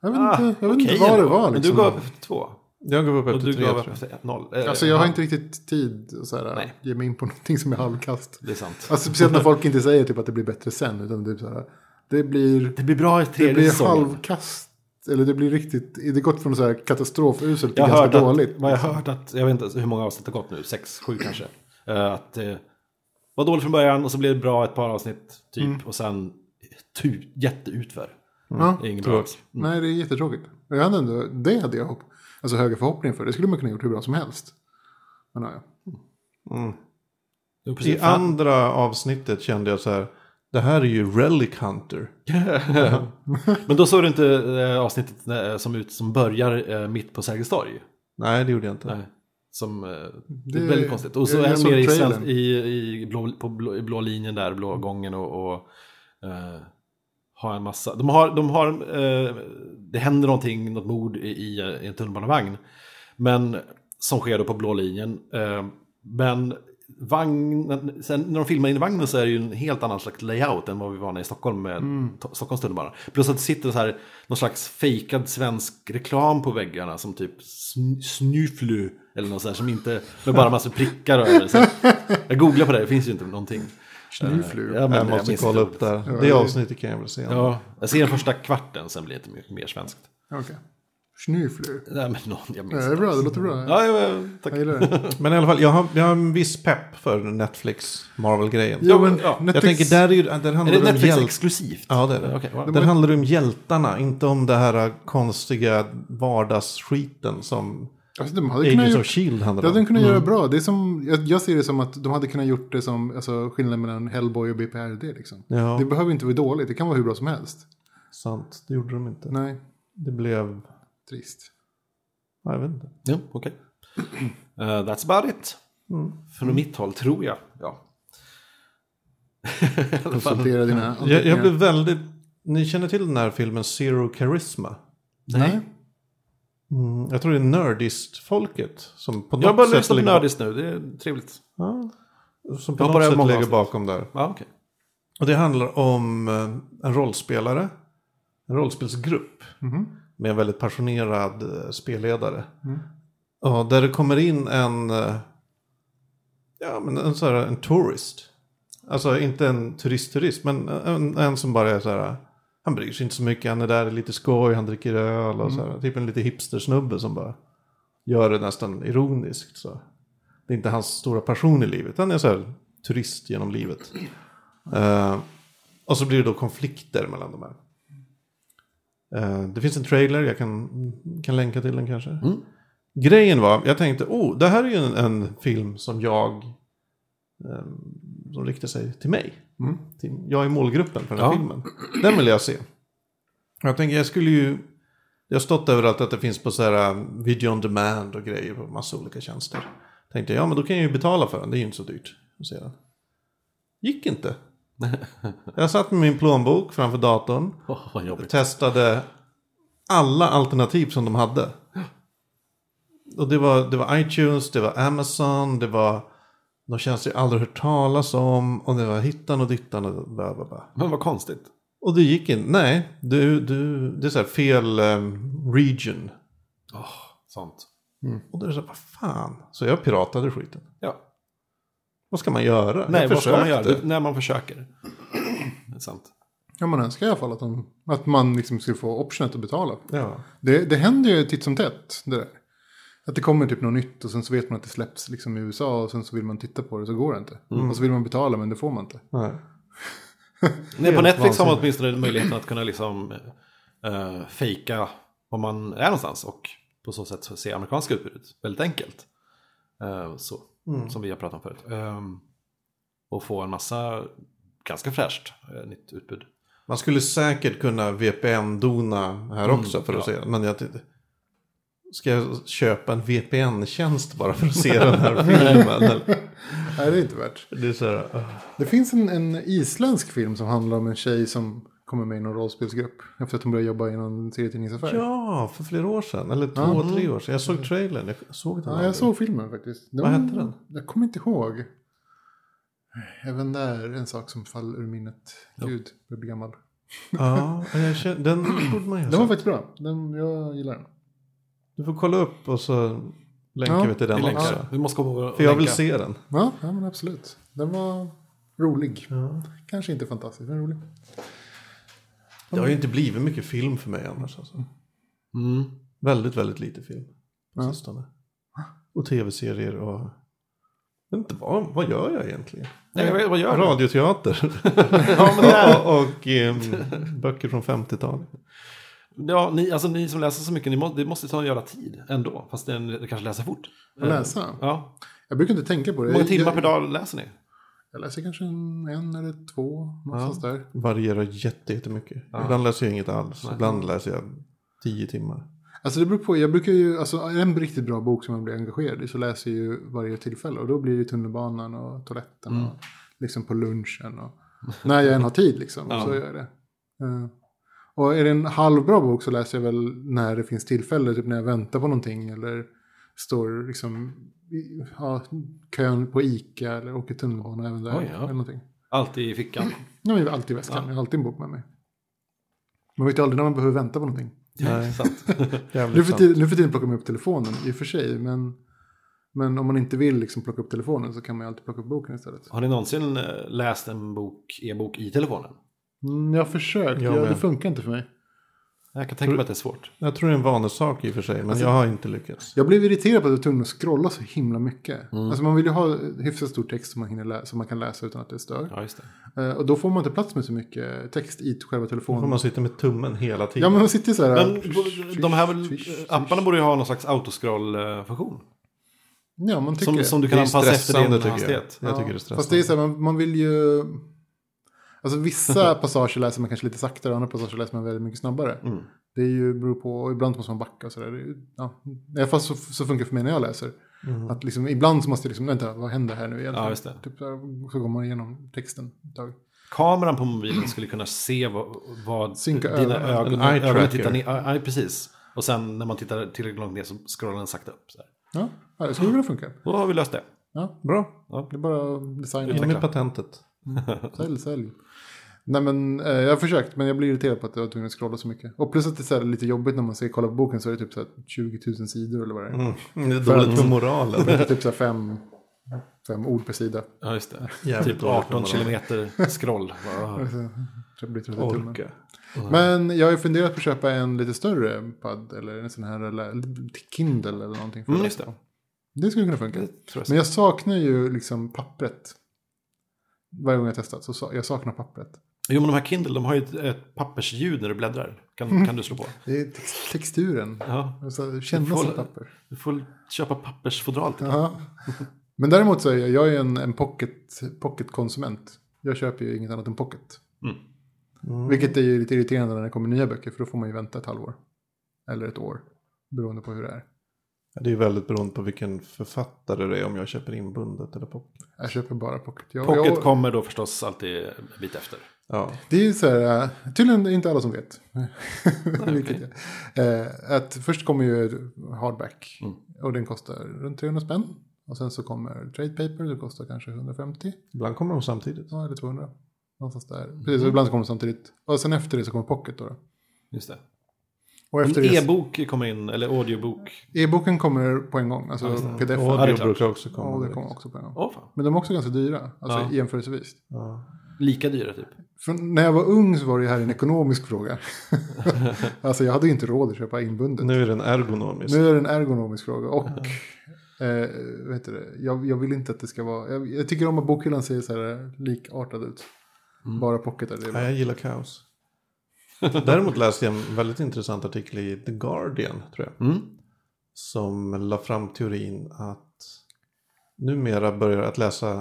Jag vet Ah, inte, jag vet okej inte vad det ändå. var. Men Liksom. du gav upp två. Jag gav upp Och efter du tre gav tror upp jag. efter ett noll. Eh, Alltså jag har ja, inte riktigt tid att så här, Nej. ge mig in på någonting som är halvkast. Det är sant. Alltså speciellt när folk inte säger typ att det blir bättre sen. Utan typ så här, det blir, Det liksom- blir bra i det tredje blir säsongen. halvkast. Eller det blir riktigt, det har gått från så här katastrofuselt till Jag ganska hörde dåligt. liksom. att, vad jag hört att, jag vet inte hur många avsnitt det har gått nu, sex, sju kanske. Eh, Att det var dåligt från början och så blev det bra ett par avsnitt typ. Mm. Och sen tu, jätteutför. Ja. Det är inget bra. Tråkigt. Mm. Nej, det är jättetråkigt. Jag hade ändå, det hade jag hopp, alltså höga förhoppningar för. Det skulle man kunna gjort hur bra som helst. Men ja, ja. Jo, precis. I andra avsnittet kände jag så här. Det här är ju Relic Hunter. Men då såg du inte eh, avsnittet eh, som, ut, som börjar eh, mitt på Sergels torg? Nej, det gjorde jag inte. Nej. Som, eh, det Det- är väldigt konstigt. Och så jag- är jag de såg nere i, trailern. svensk- i, i, blå, på blå, i blå linjen där, blå gången och, och eh, har en massa. De har, de har, eh, det händer någonting, något mord i, i, eh, i en tunnelbanevagn. Men som sker då på blå linjen. Eh, men vagnen, sen när de filmar in i vagnen så är det ju en helt annan slags layout än vad vi var när i Stockholm med to- Stockholms tunnelbana. Plus att det sitter så här någon slags fejkad svensk reklam på väggarna som typ sn- snyflu eller något sånt som inte, med bara massor prickar över. Så jag googlar på det, det finns ju inte någonting. Eh, Snuflu. Ja, men jag måste minns kolla inte upp det här. Ja, Det det- avsnittet kan jag väl se. Ja, jag ser den första kvarten, sen blir det inte mer, mer svenskt. Okej. Snyflu. Nej, men någon, jag Ja, minns det är inte. bra, det låter bra. Ja, ja, ja, tack. Jag gillar det. Men i alla fall, jag har, jag har en viss pepp för Netflix Marvel-grejen. Jo, men Ja, jag jag Netflix, tänker, där, är ju, där Är handlar det det om Netflix hjältar. exklusivt? Ja, det är det. Okej, va? Där handlar det om hjältarna, inte om det här konstiga vardagsskiten som alltså, de hade kunnat Agents of gjort, Shield det E handlar hade om. de kunnat göra bra. Det är som, jag, jag ser det som att de hade kunnat gjort det som alltså, skillnaden mellan Hellboy och BPRD. Liksom. Ja. Det behöver inte vara dåligt, det kan vara hur bra som helst. Sant, det gjorde de inte. Nej, Det blev, trist. ja, jag vet inte. Ja, okej. Eh, that's about it. Från mitt håll, tror jag. Mm. Ja. I alla fall. Konsultera dina Jag, jag anteckningar. blev väldigt, ni känner till den här filmen Zero Charisma? Nej. Mm, jag tror det är Nerdist-folket som på något Jag har bara sätt lyssnat på ligger- Nördis nu, det är trevligt. Ja, som på Jag något har bara sätt många ligger avsnitt. bakom där. Ja, okej. Och det handlar om eh, en rollspelare, en rollspelsgrupp med en väldigt passionerad eh, spelledare. Ja, där det kommer in en, eh, ja, men en, så här, en tourist. Alltså inte en turistturist, men en, en som bara är så här, han bryr sig inte så mycket, han är där, det är lite skoj, han dricker öl och så här. Typ en lite hipstersnubbe som bara gör det nästan ironiskt. Så. Det är inte hans stora passion i livet, han är så här turist genom livet. Eh, och så blir det då konflikter mellan de här. Eh, det finns en trailer, jag kan, kan länka till den kanske. Grejen var, jag tänkte, oh, det här är ju en, en film som jag, eh, som riktar sig till mig. Till, jag är målgruppen för den här Ja. filmen. Den vill jag se. Jag tänker, jag skulle ju, det har stått överallt att det finns på så här um, video on demand och grejer på massa olika tjänster. Tänkte jag, ja men då kan jag ju betala för den, det är ju inte så dyrt att se den. Gick inte. Jag satt med min plånbok framför datorn. Åh, vad jobbigt. Testade alla alternativ som de hade. Och det var, det var iTunes, det var Amazon, det var någon tjänst jag aldrig hört talas om. Och det var hittan och dittan och bla bla bla. Men vad konstigt. Och det gick inte. Nej, du, du, det är så här fel em, region. Oh, sånt. Och då är det så här, vad fan. Så jag piratade skiten. Ja. Vad ska man göra? Nej, jag vad ska man göra? försökte. Det, när man försöker. Det är sant. Ja, man önskar i alla fall att, de, att man liksom skulle få optionet att betala. Ja. Det, det händer ju titt som tätt det där. Att det kommer typ något nytt och sen så vet man att det släpps liksom i USA och sen så vill man titta på det så går det inte. Mm. Och så vill man betala men det får man inte. Nej. Nej, Helt på Netflix har man vansinnigt. åtminstone möjligheten att kunna liksom eh, fejka var man är någonstans och på så sätt se amerikanska utbudet väldigt enkelt. Eh, så, som vi har pratat om förut. Ehm, och få en massa ganska fräscht eh, nytt utbud. Man skulle säkert kunna VPN-dona här också för att ja. se. Men jag tyckte... Ska jag köpa en VPN-tjänst bara för att se den här filmen? Eller? Nej, det är inte värt. Det är så här, ah. Det finns en, en isländsk film som handlar om en tjej som kommer med i någon rollspelsgrupp. Efter att hon började jobba i någon serietidningsaffär. Ja, för flera år sedan. Eller två, tre år sedan. Jag såg trailern. Jag såg den Ja, aldrig. jag såg filmen faktiskt. Den Vad var- hette den? Jag kommer inte ihåg. Även där en sak som faller ur minnet. Gud, jag blir gammal. Ja, jag känner, den borde man ju ha Den var sett. faktiskt bra. Den, jag gillar den. Du får kolla upp och så länkar Ja, vi till Vi den också. länkar. Vi måste komma ihåg att För jag vill länka. se den. Ja, ja men absolut. Den var rolig. Kanske inte fantastisk, men rolig. Det har ju inte blivit mycket film för mig annars. Alltså. Mm. Väldigt, väldigt lite film på Ja. sistone. Och tv-serier och... Jag vet inte, vad, vad gör jag egentligen? Nej, vad- vad gör du? Radioteater. Ja, men där- och och ehm, böcker från 50-talet. Ja, ni, alltså, ni som läser så mycket, ni må, det måste ta en jävla tid ändå. Fast det, det kanske läser fort. Att läsa. Ja. Jag brukar inte tänka på det. Hur många timmar jag, per dag läser ni? Jag läser kanske en, en eller två. Någonstans där. Varierar jätte, jättemycket. Ibland läser jag inget alls. Ibland läser jag tio timmar. Alltså det beror på. Jag brukar ju, alltså en riktigt bra bok som jag blir engagerad i så läser jag ju varje tillfälle. Och då blir det tunnelbanan och toaletten Mm. och liksom på lunchen. Och, när jag än har tid liksom. Ja. Så gör jag det. Eh, och är det en halvbra bok så läser jag väl när det finns tillfälle. Typ när jag väntar på någonting eller står liksom i ja, kön på Ica eller åker tunnelbana även där. Oj, ja. eller någonting. Alltid i fickan. Ja, men jag har alltid i väskan. Jag har alltid en bok med mig. Man vet ju aldrig när man behöver vänta på någonting. Nej. Sant. Jävligt Nu för, sant. tiden, nu för tiden plockar man upp telefonen i och för sig. Men, men om man inte vill liksom plocka upp telefonen så kan man ju alltid plocka upp boken istället. Har ni någonsin eh, läst en bok, e-bok i telefonen? Mm, jag har försökt, Jag ja, med. det funkar inte för mig. Jag kan tänka mig att det är svårt. Jag tror det är en vanesak i och för sig, men jag har inte lyckats. Jag blev irriterad på att jag var tvungen att scrolla så himla mycket. Mm. Alltså man vill ju ha hyfsat stor text som man, hinner läsa, som man kan läsa utan att det stör. Ja, just det. Eh, och då får man inte plats med så mycket text i själva Får telefonen. man sitta med tummen hela tiden. Ja men man sitter ju så här. Men bo- de här väl- eh, apparna borde ju ha någon slags autoscroll-funktion. ja, man tycker Som, det. som du det kan är anpassa efter din stressande tycker jag. hastighet. Jag tycker det är Fast det stressande. är så här, man, man vill ju... Alltså vissa passager läser man kanske lite saktare, andra passager läser man väldigt mycket snabbare. Det är ju, beror på, och ibland måste man backa och sådär. Det är ju- Ja, I alla fall så, så funkar det för mig när jag läser. Att liksom, ibland så måste jag liksom, vänta, vad händer här nu egentligen? Ja, just det. Typ, så här, så går man igenom texten ett tag. Kameran på mobilen skulle kunna se vad, vad Synka dina ögonen. ögon, En eye ögon tracker. tittar ner. Ja, ja, precis. Och sen när man tittar tillräckligt långt ner så scrollar den sakta upp. Så här. Ja, ja, det skulle kunna funka. Då har vi löst det. Ja, Bra, det är bara att in designa. med patentet. Sälj, sälj. Nej men eh, jag har försökt men jag blir irriterad på att jag var tvungen att scrolla så mycket. Och plus att det är så här, lite jobbigt när man ska kolla på boken så är det typ så här 20 000 sidor eller vad Mm. det är. Mm. Det är dåligt för Det moralen. är typ så här fem, fem ord per sida. Ja, just det. Jävligt typ dåligt för 18 moralen. kilometer scroll. Bara, Så det blir trött i tummen. Orka. Men jag har ju funderat på att köpa en lite större pad eller en sån här eller, Kindle eller någonting. För Mm, att just läsa. det skulle kunna funka. tror jag. Men jag saknar ju liksom pappret. Varje gång jag testat så sa- jag saknar pappret. Jo, men de här Kindle, de har ju ett, ett pappersljud när du bläddrar. Kan, Mm. kan du slå på? Det är tex- texturen. Ja. Alltså, känna Får- som papper. Du får köpa pappersfodral. till. Ja. Men däremot så är jag, jag är en, en pocket, pocket-konsument. Jag köper ju inget annat än pocket. Mm. Vilket är ju lite irriterande när det kommer nya böcker för då får man ju vänta ett halvår. Eller ett år. Beroende på hur det är. Ja, Det är väldigt beroende på vilken författare det är, om jag köper inbundet eller pocket. Jag köper bara pocket. Jag, Pocket jag, kommer då förstås alltid en bit efter. Ja, det är ju så här, äh, tydligen är det inte alla som vet. Vilket okej. jag, eh, att först kommer ju hardback och den kostar runt 300 spänn. Och sen så kommer trade paper, det kostar kanske 150. ibland kommer de samtidigt. Ja, eller 200. Någonstans där. Precis, Mm. och ibland så kommer det samtidigt. Och sen efter det så kommer Pocket då. då. Just det. Och efter En det, e-bok kommer in, eller audiobook. e-boken kommer på en gång. Alltså pdf. Och det är det klart. brukar också komma. Ja, det direkt. kommer också på en gång. Åh fan. Men de är också ganska dyra, alltså Ja. jämförelsevis. Ja. Lika dyra typ. För när jag var ung så var det ju här en ekonomisk fråga. alltså jag hade ju inte råd att köpa inbundet. Nu är den ergonomisk. Nu är det en ergonomisk fråga och eh, vad heter det? Jag, jag vill inte att det ska vara... Jag, jag tycker om att bokhyllan ser så här eh, likartad ut. Mm. Bara pocketar. Det är Ja, bra. jag gillar kaos. Däremot läste jag en väldigt intressant artikel i The Guardian, tror jag. Mm. Som la fram teorin att numera börjar att läsa,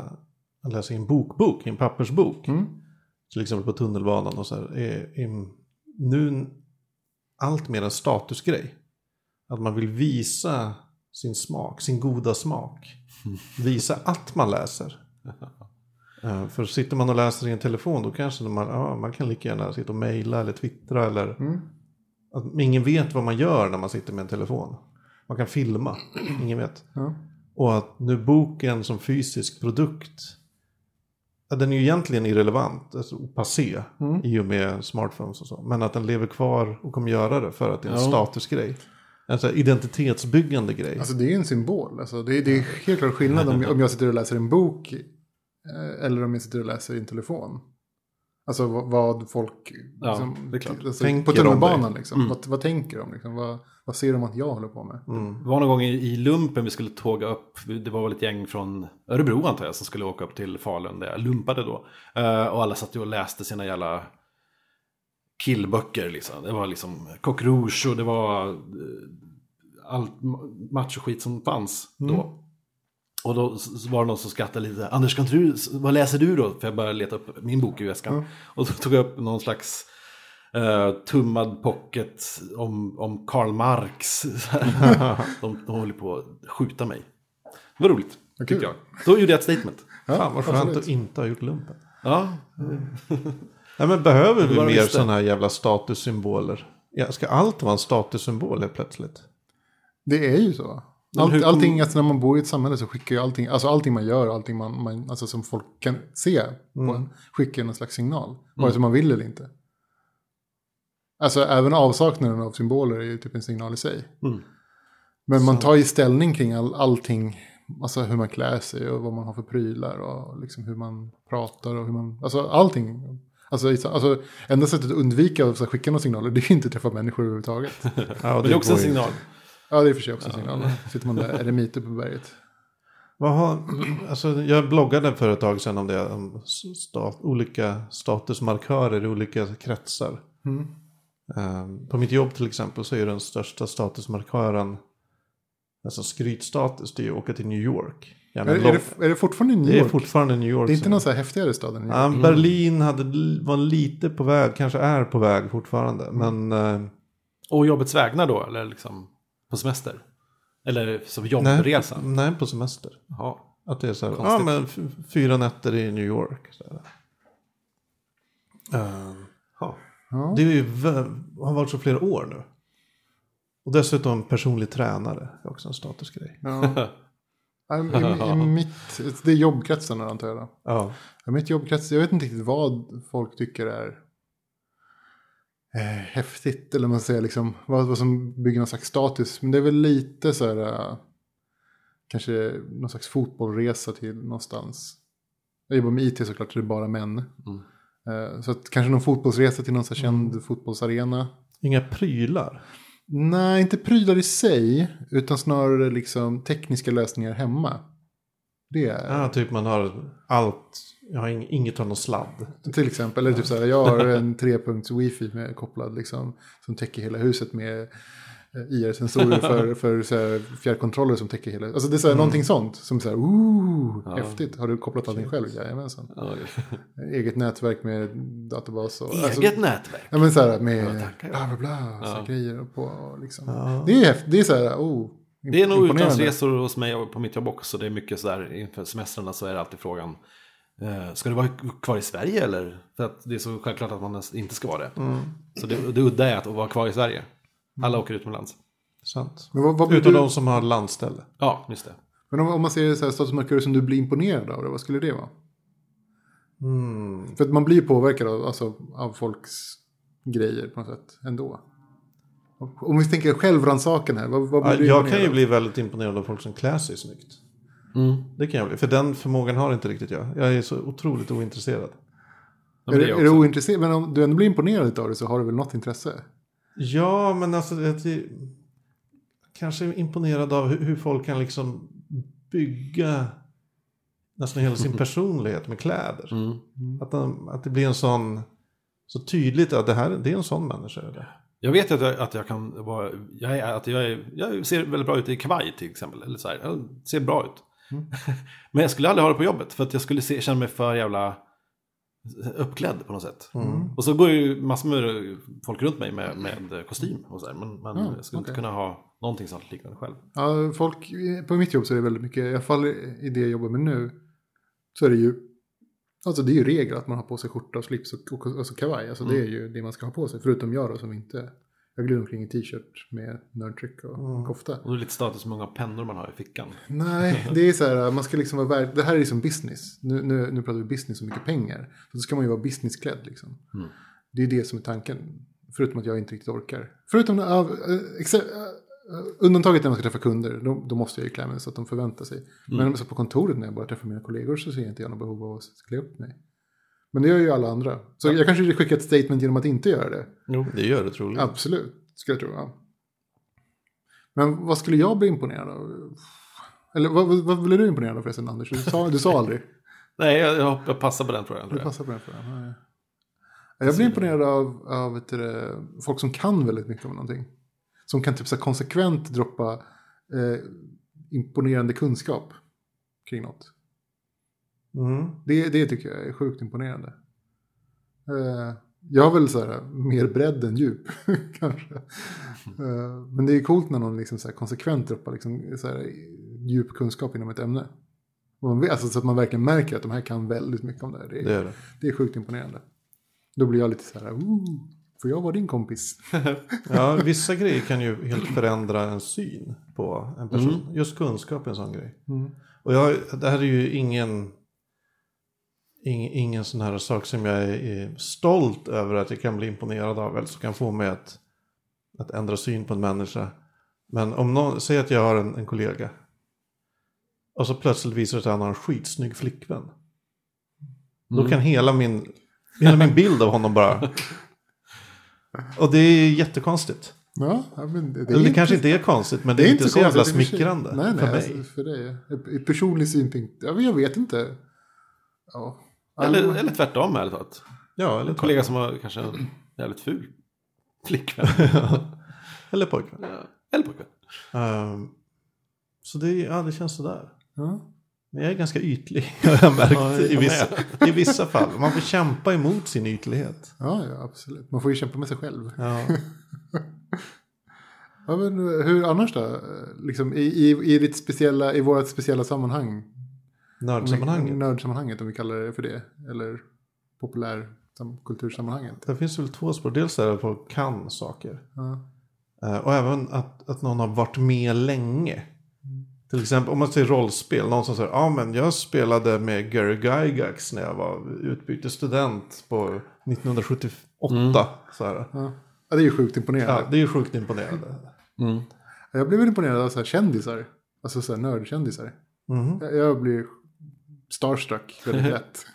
att läsa i en bokbok, i en pappersbok. Mm. Till exempel på tunnelbanan och så här. Är, är nu en- allt mer en statusgrej. Att man vill visa sin smak, sin goda smak. Visa att man läser. Eh, För sitter man och läser i en telefon då kanske man, ja, man kan lika gärna sitta och mejla eller twittra eller Mm. att ingen vet vad man gör när man sitter med en telefon. Man kan filma, ingen vet. Ja. Och att nu boken som fysisk produkt, ja, den är ju egentligen irrelevant, alltså och passé Mm. i och med smartphones och så. Men att den lever kvar och kommer göra det för att det är en Ja. statusgrej. Alltså identitetsbyggande grej. Alltså det är ju en symbol. Alltså, det, är, det är helt klart skillnad om, jag- om jag sitter och läser en bok eh, eller om jag sitter och läser i en telefon. Alltså vad, vad folk Ja, liksom, det är klart. Alltså, Tänker på om dig. tunnelbanan liksom. Vad, vad tänker de? Liksom? Vad, vad ser de att jag håller på med? mm. Det var någon gång i, i lumpen vi skulle tåga upp. Det var väl ett gäng från Örebro antar jag som skulle åka upp till Falun där jag lumpade då. Eh, och alla satt ju och läste sina jävla killböcker liksom. Det var liksom Coq Rouge och det var eh, allt ma- machoskit som fanns då. Och då s- så var det någon som skrattade lite. Anders, kan inte du, s- vad läser du då? För jag började leta upp min bok i väskan. Och då tog jag upp någon slags eh, tummad pocket om, om Karl Marx. de, de håller på att skjuta mig. Det var roligt, Vad tyckte kul. jag. Då gjorde jag ett statement. Ja, Fan vad skönt absolut. att inte ha gjort lumpen. Ja, Nej men behöver vi var mer just det. sådana här jävla statussymboler? Ja, ska allt vara en statussymbol helt plötsligt? Det är ju så. Men hur Allt, kom- allting, alltså när man bor i ett samhälle så skickar ju allting, alltså allting man gör, allting man, man, alltså som folk kan se Mm. på en, skickar ju någon slags signal. Vare sig man vill eller inte. Alltså även avsaknaden av symboler är ju typ en signal i sig. Mm. Men man tar ju ställning kring all, allting, alltså hur man klär sig och vad man har för prylar och liksom hur man pratar och hur man, alltså allting. Alltså, i- alltså enda sättet att undvika att så här skicka några signaler det är ju inte att träffa människor överhuvudtaget. Ja, men det är också en går ju signal. Ja, det är i och för sig också en signal. Sitter man där, eremiter på berget. Vad har, alltså jag bloggade för ett tag sedan om det, om stat, olika statusmarkörer i olika kretsar. Mm. Ehm, på mitt jobb till exempel så är ju den största statusmarkören, alltså skrytstatus, det är ju att åka till New York. Ja, Är, men är, lång- det, är det fortfarande New det är York? fortfarande New York. Det är inte som- någon Mm. så här häftigare stad än New York? Ja, Berlin hade, var lite på väg, kanske är på väg fortfarande. Men eh, Och jobbets vägnar då, eller liksom på semester? Eller som nej, jobbresa? nej, på semester. Ja. Att det är så här, ja Konstigt. men f- fyra nätter i New York. Så här. Ehm, Ja. Ja. Det är ju, vä- har varit så flera år nu. Och dessutom personlig tränare, det är också en statusgrej. Ja. Ja, I, i mitt, det är jobbkretsen då, antar jag. Då. Ja. I mitt jobbkrets, jag vet inte riktigt vad folk tycker är eh, häftigt. Eller man säger liksom, vad, vad som bygger någon slags status. Men det är väl lite så här, eh, kanske någon slags fotbollresa till någonstans. Jag jobbar med IT såklart, så det är bara män. Eh, så att kanske någon fotbollsresa till någon så här känd fotbollsarena. Inga prylar. Nej, inte prylar i sig, utan snarare liksom tekniska lösningar hemma. Det är... Ja, typ man har allt, jag har ing- inget av någon sladd. Till exempel, eller typ så här, jag har en trepunkts wifi med, kopplad liksom, som täcker hela huset med eh, IR-sensorer för, för så här, fjärrkontroller som täcker hela Alltså det är Mm. så här, någonting sånt som så här, ooh, häftigt. Har du kopplat allting själv? Jajamensan. Eget nätverk med databas och... alltså- Eget nätverk. Ja men så här med tackar. bla bla bla, så här grejer och på och liksom. Det är häftigt, det är så här, oh. Det är nog imponerande. utlandsresor hos mig och på mitt jobb också. Det är mycket sådär inför semestrarna så är det alltid frågan. eh, Ska du vara kvar i Sverige eller? För att det är så självklart att man nästan inte ska vara det. Mm. Så det, det udda är att vara kvar i Sverige. Alla åker utomlands. Sant. Men vad, vad blir Utom du, de som har landställe. Ja, just det. Men om, om man ser så här statusmarkörer som du blir imponerad av, då, vad skulle det vara? Mm. För att man blir ju påverkad av, alltså, av folks grejer på något sätt ändå. Om vi tänker självrannsakan här, vad, vad blir Ja, du jag kan ju imponerad av? bli väldigt imponerad av folk som klär sig snyggt. Mm. Det kan jag bli, för den förmågan har inte riktigt jag. Jag är så otroligt ointresserad. men är, det det är är du också. ointresserad? Men om du ändå blir imponerad av det så har du väl något intresse? Ja, men alltså det är kanske imponerad av hur, hur folk kan liksom bygga nästan hela sin personlighet med kläder. Mm. Att, de, att det blir en sån, så tydligt att det här det är en sån människa. är Det. Jag vet att jag, att jag kan vara, jag, är, att jag, är, jag ser väldigt bra ut i kavaj till exempel. Eller så här, jag ser bra ut. Mm. Men jag skulle aldrig ha det på jobbet för att jag skulle se, känna mig för jävla uppklädd på något sätt. Mm. Och så går ju massor med folk runt mig med, med kostym och så här, Men, men Mm, jag skulle inte okej. kunna ha någonting sånt liknande själv. Ja, folk, på mitt jobb så är det väldigt mycket, i alla fall i det jag jobbar med nu, så är det ju, alltså det är ju regel att man har på sig skjorta och slips och, och, och så kavaj. Alltså Mm. det är ju det man ska ha på sig, förutom jag då som inte, jag glider omkring i t-shirt med nördtryck och Mm. kofta. Och det är lite status hur många pennor man har i fickan. Nej, det är så här, man ska liksom vara värd, det här är liksom business. Nu, nu, nu pratar vi business och mycket pengar. Så då ska man ju vara businessklädd liksom. Det är det som är tanken. Förutom att jag inte riktigt orkar. Förutom av, eh, exe- eh, undantaget när man ska träffa kunder, då, då måste jag ju klä mig så att de förväntar sig. Men så på kontoret när jag bara träffar mina kollegor så ser jag inte jag något behov av att klä upp mig. Men det gör ju alla andra. Så jag kanske skickar ett statement genom att inte göra det. Jo. Det gör det troligen. Absolut, skulle jag tro. Ja. Men vad skulle jag bli imponerad av? Eller vad, vad, vad blev du imponerad av förresten, Anders? Du sa, du sa aldrig. Nej, jag, jag, jag passar på den frågan Du tror jag. passar på den frågan. Ja, ja. Jag blir imponerad av, av vet du, det, folk som kan väldigt mycket om någonting. Som kan typ så här konsekvent droppa eh, imponerande kunskap kring något. Mm. Det, det tycker jag är sjukt imponerande. Eh, jag har väl så här, eh, mer bredd än djup kanske. Eh, men det är coolt när någon liksom så här konsekvent droppar liksom så här, djup kunskap inom ett ämne. Och man vet, alltså, så att man verkligen märker att de här kan väldigt mycket om det här. Det är, Det är det. det är sjukt imponerande. Då blir jag lite så här, "Ooh, får jag vara din kompis? Ja, vissa grejer kan ju helt förändra en syn på en person. Just kunskap är en sån grej. Mm. Och jag, det här är ju ingen, ing, ingen sån här sak som jag är, är stolt över att jag kan bli imponerad av. Eller som kan få mig att, att ändra syn på en människa. Men om någon, säg att jag har en, en kollega. Och så plötsligt visar det sig att han har en skitsnygg flickvän. Då kan hela min, hela min bild av honom bara... Och det är jättekonstigt. Ja, ja, men det, det Eller Alltså, det kanske inte är konstigt, men det är, inte så konstigt jävla i och för sig. smickrande nej, nej, för mig. Alltså, för dig. ja. I personlig synpunkt, ja, men jag vet inte. Ja. Eller, eller tvärtom ärligt talat. ja, eller, En kollega som har kanske en jävligt ful flickvän. eller pojkvän. Eller pojkvän. Ehm, så det, ja, det känns sådär. Ja. Men jag är ganska ytlig, har jag märkt Ja, jag i, vissa, i vissa fall. Man får kämpa emot sin ytlighet. Ja, ja, absolut. Man får ju kämpa med sig själv. Ja. Ja, men hur annars då? Eh, Liksom, i, i, i, ditt speciella, I vårt speciella sammanhang? Mm, Nördsammanhanget. Nördsammanhanget om vi kallar det för det. Eller populärkultursammanhanget. Det finns väl två spår. Dels är det att folk kan saker. Ja. Eh, Och även att, att någon har varit med länge. Till exempel om man säger rollspel. Någon som säger ja men jag spelade med Gary Gygax när jag var utbytesstudent på 1978. Så här. Ja. ja, det är ju sjukt Ja, imponerande. det är ju sjukt imponerande. Mm. Jag blev imponerad av så här kändisar. Alltså så här nördkändisar. Mm-hmm. Mhm. Jag, jag blir starstruck väldigt lätt,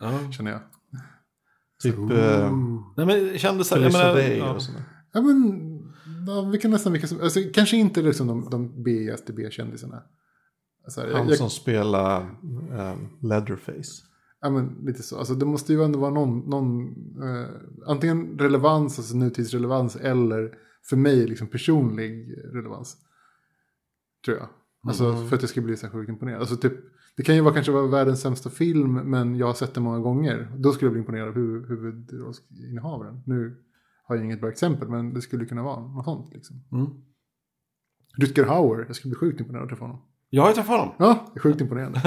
Ja. känner jag. Mm. Typ eh, Nej men kändisar, jag Felicia menar, Day ja. och sådär. Ja, men ja, vilka nästan vilka som... Alltså, kanske inte liksom de, de B-iaste B-kändisarna. Alltså, jag- Han jag- som spelar um, Leatherface. Ja, men lite så. Alltså, det måste ju ändå vara någon, någon eh, antingen relevans, alltså nutidsrelevans, eller för mig liksom personlig relevans. Tror jag. Alltså för att jag ska bli så här sjukt imponerad. Alltså typ, det kan ju vara kanske vara världens sämsta film, men jag har sett den många gånger. Då skulle jag bli imponerad av huv, huvudrollsinnehavaren. Nu har jag inget bra exempel, men det skulle kunna vara något sånt. Liksom. Mm. Rutger Hauer, jag skulle bli sjukt imponerad av att träffa honom. Jag har ju träffat honom. Ja, jag är sjukt imponerad.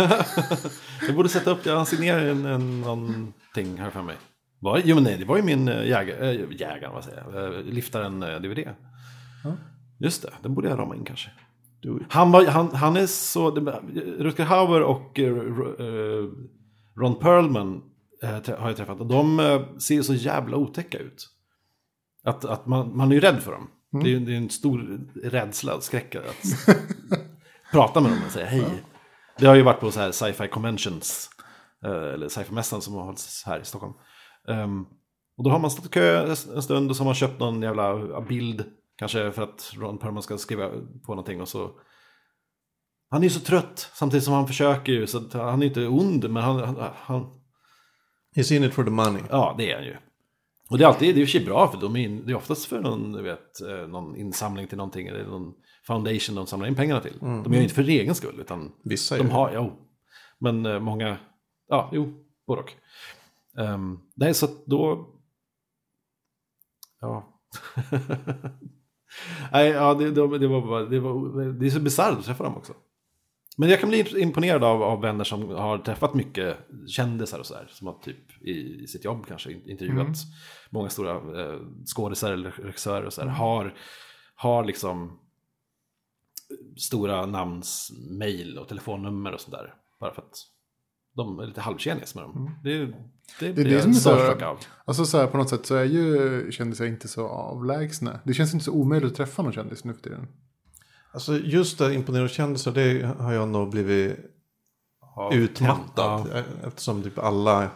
Jag borde sätta upp, jag signerar en, en någonting här för mig. Var, det- jo men nej, det var ju min eh, jägar, äh, jägare, vad säger jag, eh, liftaren-DVD. Ja. Just det, den borde jag rama in kanske. Han, var, han, han är så, det- Rutger Hauer och eh, Ro- eh, Ron Perlman eh, trä- har jag träffat. Och de eh, ser så jävla otäcka ut. Att, att man, man är ju rädd för dem. Det, är, ju- det är en stor rädsla och skräck att s- prata med dem och säga hej. Det har ju varit på så här sci-fi conventions. eh, Eller sci-fi-mässan som har hållits här i Stockholm. Ehm, och då har man stått i kö en stund och så har man köpt någon jävla bild. Kanske för att Ron Perlman ska skriva på någonting och så. Han är ju så trött samtidigt som han försöker ju. Så att han är inte ond men han, han, han He's in it for the money. Ja, det är han ju. Och det är alltid, det är i och för sig bra för de är, in- det är oftast för någon, du vet, eh, någon insamling till någonting eller någon foundation de samlar in pengarna till. De gör ju inte för egen skull utan Vissa är de ju. har, jo. Men eh, många, ja, jo, både och. Ehm, nej, så att då... Ja. nej, ja, det, det, det, var, bara- det, var, det är så bisarrt att träffa dem också. Men jag kan bli imponerad av, av vänner som har träffat mycket kändisar och sådär. Som har typ i, i sitt jobb kanske in- intervjuat många stora eh, skådisar eller regissörer och sådär. Har, har liksom stora namns mail och telefonnummer och sådär. Bara för att de är lite halvtjenis med dem. Det, är- det blir det som jag är så- starstruck av. Alltså så här, på något sätt så är ju kändisar inte så avlägsna. Det känns inte så omöjligt att träffa någon kändis nu för tiden. Alltså just det, imponerande kändisar, det har jag nog blivit Ja, utmattad. tänt, e- Eftersom typ alla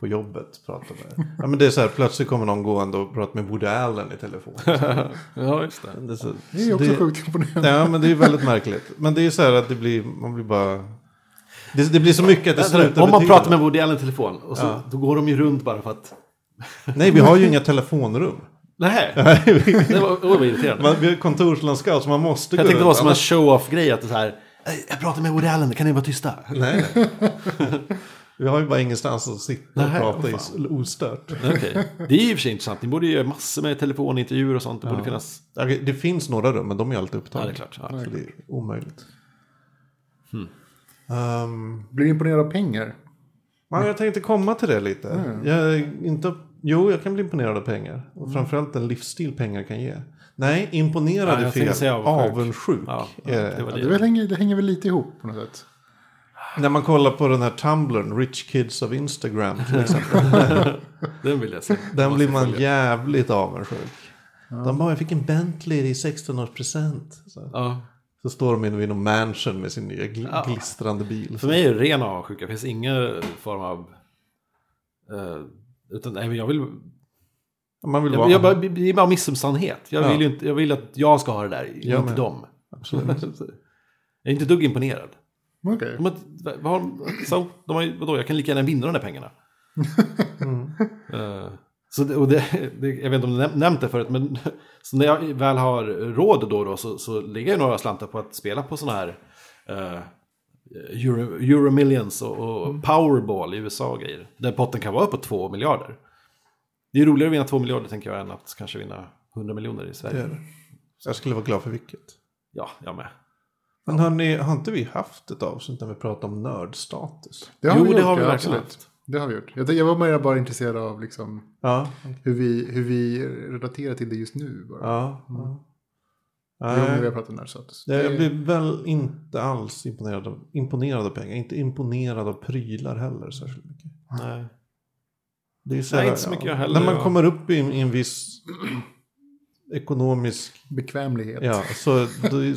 på jobbet pratar med. ja, men det är så här, plötsligt kommer någon gående och pratar med Woody Allen i telefon. Ja. ja, just det. Det är, så, Det är ju också det- sjukt imponerande. Ja, men det är väldigt märkligt. Men det är så här att det blir, man blir bara... Det, det blir så mycket att det slutar Om man betyda pratar med Woody Allen i telefon, och så, då går de ju runt bara för att... något. Nej, vi har ju inga telefonrum. Nej, det var, det var irriterande. man, vi har kontorslandskap så man måste jag gå tänkte det var runt. som en show-off-grej, att det är så här, "Ey, jag pratar med Woody Allen, kan ni vara tysta? Nej. vi har ju bara ingenstans att sitta och Nej, prata vad i fan. ostört. Okej. Det är i och för sig intressant, ni borde ju göra massor med telefonintervjuer och sånt, det borde finnas... Okej, Det finns några rum, men de är alltid Ja, upptagna. det är klart. Ja. Så det är omöjligt. Um, Blir imponerad av pengar. ja, jag tänkte komma till det lite. Jag är inte, jo, jag kan bli imponerad av pengar. Och framförallt den livsstil pengar kan ge. Nej, imponerad Ja, är jag tänkte fel. säga avundsjuk. Avundsjuk. Ja, är det. det var Ja, det, väl hänger, det hänger väl lite ihop på något sätt. När man kollar på den här Tumblrn, Rich Kids of Instagram. till exempel, Den vill jag se. Den blir man jävligt avundsjuk. De bara, jag fick en Bentley i 16-årspresent. Så, Ja. så står de inne vid någon mansion med sin nya gl- Ja. glistrande bil. För mig är det ren avundsjuka, det finns ingen form av... eh, utan nej, men jag vill... Man vill vara... Jag, jag, bara- det är bara missunnsamhet. Jag, Ja. vill ju inte, jag vill att jag ska ha det där, Jag inte med. dem. Absolut. Jag är inte ett dugg imponerad. Okej. De har, vad har, de- så, de har, ju- vadå, jag kan lika gärna vinna de där pengarna. Eh, så det, och det, det, jag vet inte om du näm- nämnt det förut, men så när jag väl har råd då, och då så, så lägger jag några slantar på att spela på sådana här eh, Euro, Euro Millions och, och Powerball i USA och grejer. Där potten kan vara uppåt 2 miljarder. Det är roligare att vinna 2 miljarder tänker jag än att kanske vinna 100 miljoner i Det Sverige. är det. Jag skulle vara glad för vilket. Ja, jag med. Men hörni, har inte vi haft ett avsnitt när vi pratade om nördstatus? Det har Jo, vi det gjort, har vi ja, verkligen absolut. haft. Det har vi gjort. Jag, jag var mer bara intresserad av liksom Ja. Mm. hur, vi, hur vi relaterar till det just nu. Bara. Ja. ja. Det var mer Nej, vi har pratat om närstatus. jag- jag blir väl inte alls imponerad av, imponerad av pengar. Inte imponerad av prylar heller särskilt mycket. Nej. Det är så Nej, här, inte så mycket ja, jag heller, När man ja. kommer upp i en, i en viss ekonomisk... Bekvämlighet. Ja, så då är,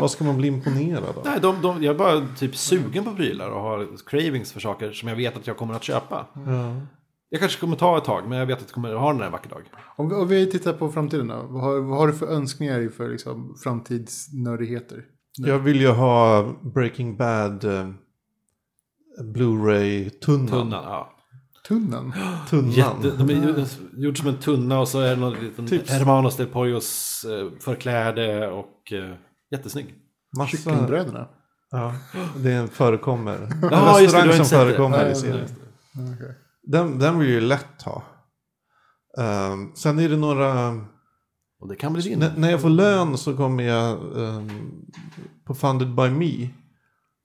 vad ska man bli imponerad av? Nej, de, de, jag är bara typ sugen på prylar och har cravings för saker som jag vet att jag kommer att köpa. Ja. Jag kanske kommer ta ett tag, men jag vet att jag kommer att ha den här en vacker dag. Om, vi, om vi tittar på framtiden då. Vad har, vad har du för önskningar för liksom, framtidsnördigheter? Jag vill ju ha Breaking Bad eh, Blu-ray-tunnan. Tunnan, ja. Tunnan? Tunnan. Jätte, de är ju- gjord som en tunna och så är det någon liten Typ. Hermanos del Poyos eh, förkläde och eh, jättesnygg. Massa, Kycklingbröderna? ja, det förekommer. En Ja, just restaurang det, du som har inte sett det. förekommer i Nej, serien. Ja, okej. Den, den vill jag ju lätt ha. Ehm, sen är det några... Och det kan bli din. N- när jag får lön så kommer jag... ehm, på Funded by Me.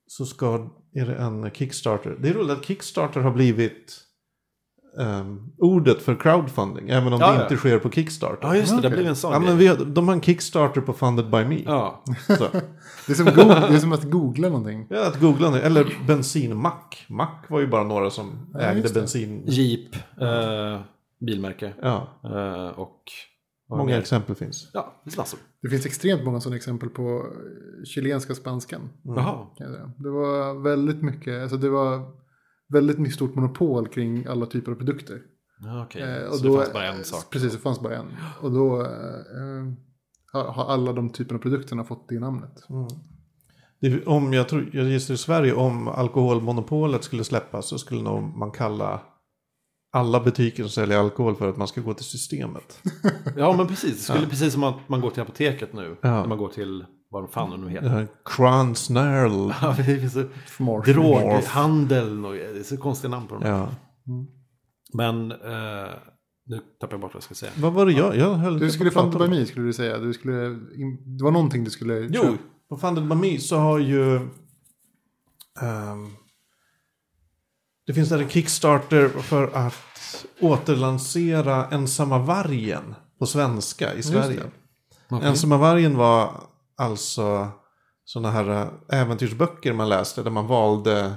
Så ska, är det en Kickstarter. Det är roligt att Kickstarter har blivit ehm, ordet för crowdfunding. Även om Ja, det ja. inte sker på Kickstarter. Ja, just det, Okej. det blev en sån Ja, men grej. vi har, de har en Kickstarter på Funded by Me. Ja, Så. Det, är som go- det är som att googla någonting. Ja, att googla nu. Eller bensinmack. Mack var ju bara några som Ja, ägde just det. bensin. Jeep, eh, bilmärke Ja, eh, och... vad många mer? exempel finns. Ja, det är massor. Det finns extremt många sådana exempel på eh, chilenska spanskan. Jaha. kan jag säga. Det var väldigt mycket, alltså det var väldigt mycket stort monopol kring alla typer av produkter. Ja, okej. Eh, så det fanns bara en sak. Precis, det fanns bara en. Och då eh, har har alla de typerna av produkterna fått det namnet. Det, om jag, tror, jag gissar i Sverige, om alkoholmonopolet skulle släppas så skulle nog man kalla alla butiker som säljer alkohol för att man ska gå till systemet. Ja, men precis. Det skulle precis som att man går till apoteket nu. Ja. När man går till, vad fan de nu Det heter. här Kranznärl. Ja, det finns så- Smart. Droghandeln och det är så konstiga namn på dem. Ja. Men eh, nu tappar jag bort vad jag ska säga. Vad var det jag, jag höll Du inte skulle på att fan prata by om. me skulle du säga. Du skulle, in- det var någonting du skulle Jo, köpa. på Funded by Me så har ju... ehm, det finns där en Kickstarter för att återlansera Ensamma vargen på svenska i Sverige. Okej. Ensamma vargen var alltså sådana här eh, äventyrsböcker man läste där man valde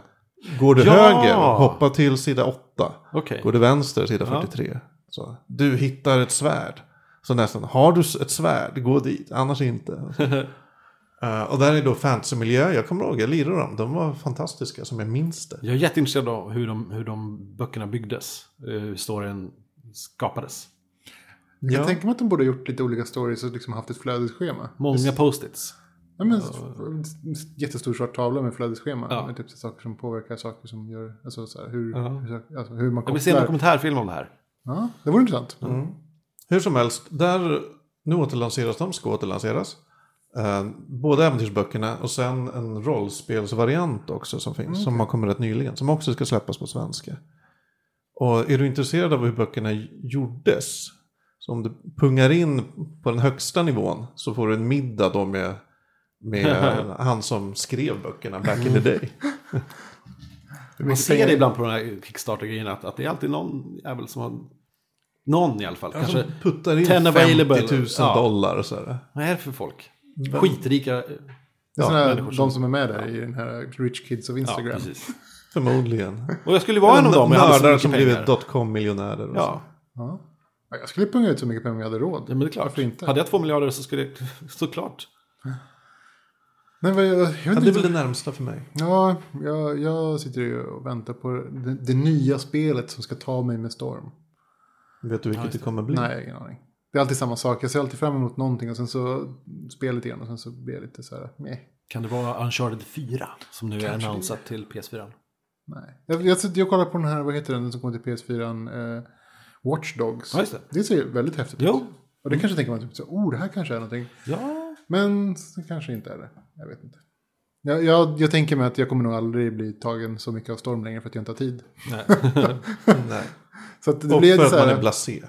Går du Ja! höger, hoppa till sida 8. Okej. Går du vänster, sida Ja. 43. Så, du hittar ett svärd. Så nästan, har du s- ett svärd, gå dit, annars inte. Eh, och där är då fantasymiljö, jag kommer ihåg, jag lirade dem. De var fantastiska som jag minns det. Jag är jätteintresserad av hur de, hur de böckerna byggdes. eh, Hur storyn skapades. Jag Ja. tänker mig att de borde ha gjort lite olika stories och liksom haft ett flödesschema. Många post-its. Ja, men, en jättestor svart tavla med flödesschema. Ja. Med typ så saker som påverkar, saker som gör... Alltså, så här, hur, Ja. hur, alltså, hur man Jag vill se Mm. en kopplar. dokumentärfilm om det här. Ja, det vore intressant. Mm. Hur som helst, där, nu återlanseras de, ska återlanseras. Eh, båda äventyrsböckerna och sen en rollspelsvariant också som finns. Mm. Som har kommit rätt nyligen. Som också ska släppas på svenska. Och är du intresserad av hur böckerna gjordes. Så om du pungar in på den högsta nivån så får du en middag då med, med han som skrev böckerna back Mm. in the day. Hur Man mycket ser pengar- det ibland på de här Kickstarter-grejerna att, att det är alltid någon jävel som har... Någon i alla fall. Kanske Kanske, puttar in 10 available. 50 000 Ja. dollar och sådär. vad är det för folk? Skitrika... Det är såna här, människor som- de som är med där i den här Rich Kids of Ja, Instagram. precis. Förmodligen. Och jag skulle vara en av dem. om Jag hade så Mördare mycket som pengar. blivit dotcom-miljonärer. och så. Ja, Ja. Ja, Jag skulle punga ut så mycket pengar om jag hade råd. ja, men det är klart. Varför inte? Hade jag två miljarder så skulle jag... Såklart. Nej, men jag, jag vet Ja, det är inte. väl det närmsta för mig. Ja, jag, jag sitter ju och väntar på det, det nya spelet som ska ta mig med storm. Vet du vilket det kommer bli? Nej, jag har ingen aning. Det är alltid samma sak. Jag ser alltid fram emot någonting och sen så spelet igen och sen så blir jag lite så här, meh. Kan det vara Uncharted 4? Som nu är annonsat till PS4. Nej. Jag, jag, sitter- jag kollar på den här, vad heter den, den som kom till PS4? Eh, Watch Dogs. Ja, just det. det ser ju väldigt häftigt ut. Jo. Mm. Och det kanske tänker man typ så, oh det här kanske är någonting. Ja. Men så kanske inte är det. Jag vet inte. Jag, jag, jag tänker mig att jag kommer nog aldrig bli tagen så mycket av storm längre för att jag inte har tid. Nej. Nej. Så att det Och blir för så att här, man är blasé.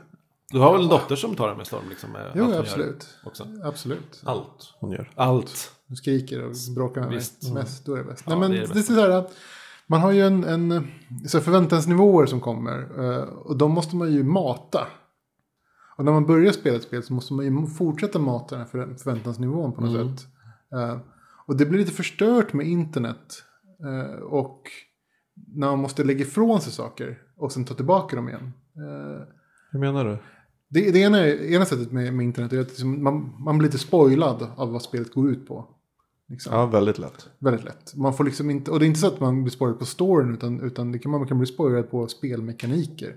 Du har väl en dotter som tar det med storm? Liksom, med Jo, allt hon absolut. gör Också. Absolut. Allt. Hon gör. Allt. Du skriker och bråkar med Visst. Mm. mig mest, då är det bäst. Ja, Nej, men det det är är, det så här, man har ju en, en eh, så här förväntansnivåer som kommer eh, och de måste man ju mata. Och när man börjar spela ett spel så måste man ju fortsätta mata den här förvä- förväntansnivån på något Mm. sätt. Eh, Och det blir lite förstört med internet eh, och när man måste lägga ifrån sig saker och sen ta tillbaka dem igen. Eh, Hur menar du? Det, det ena, ena sättet med, med internet är att liksom man, man blir lite spoilad av vad spelet går ut på. Liksom. Ja, väldigt lätt. Väldigt lätt. Man får liksom inte, och det är inte så att man blir spoilad på storyn utan, utan det kan, man kan bli spoilad på spelmekaniker.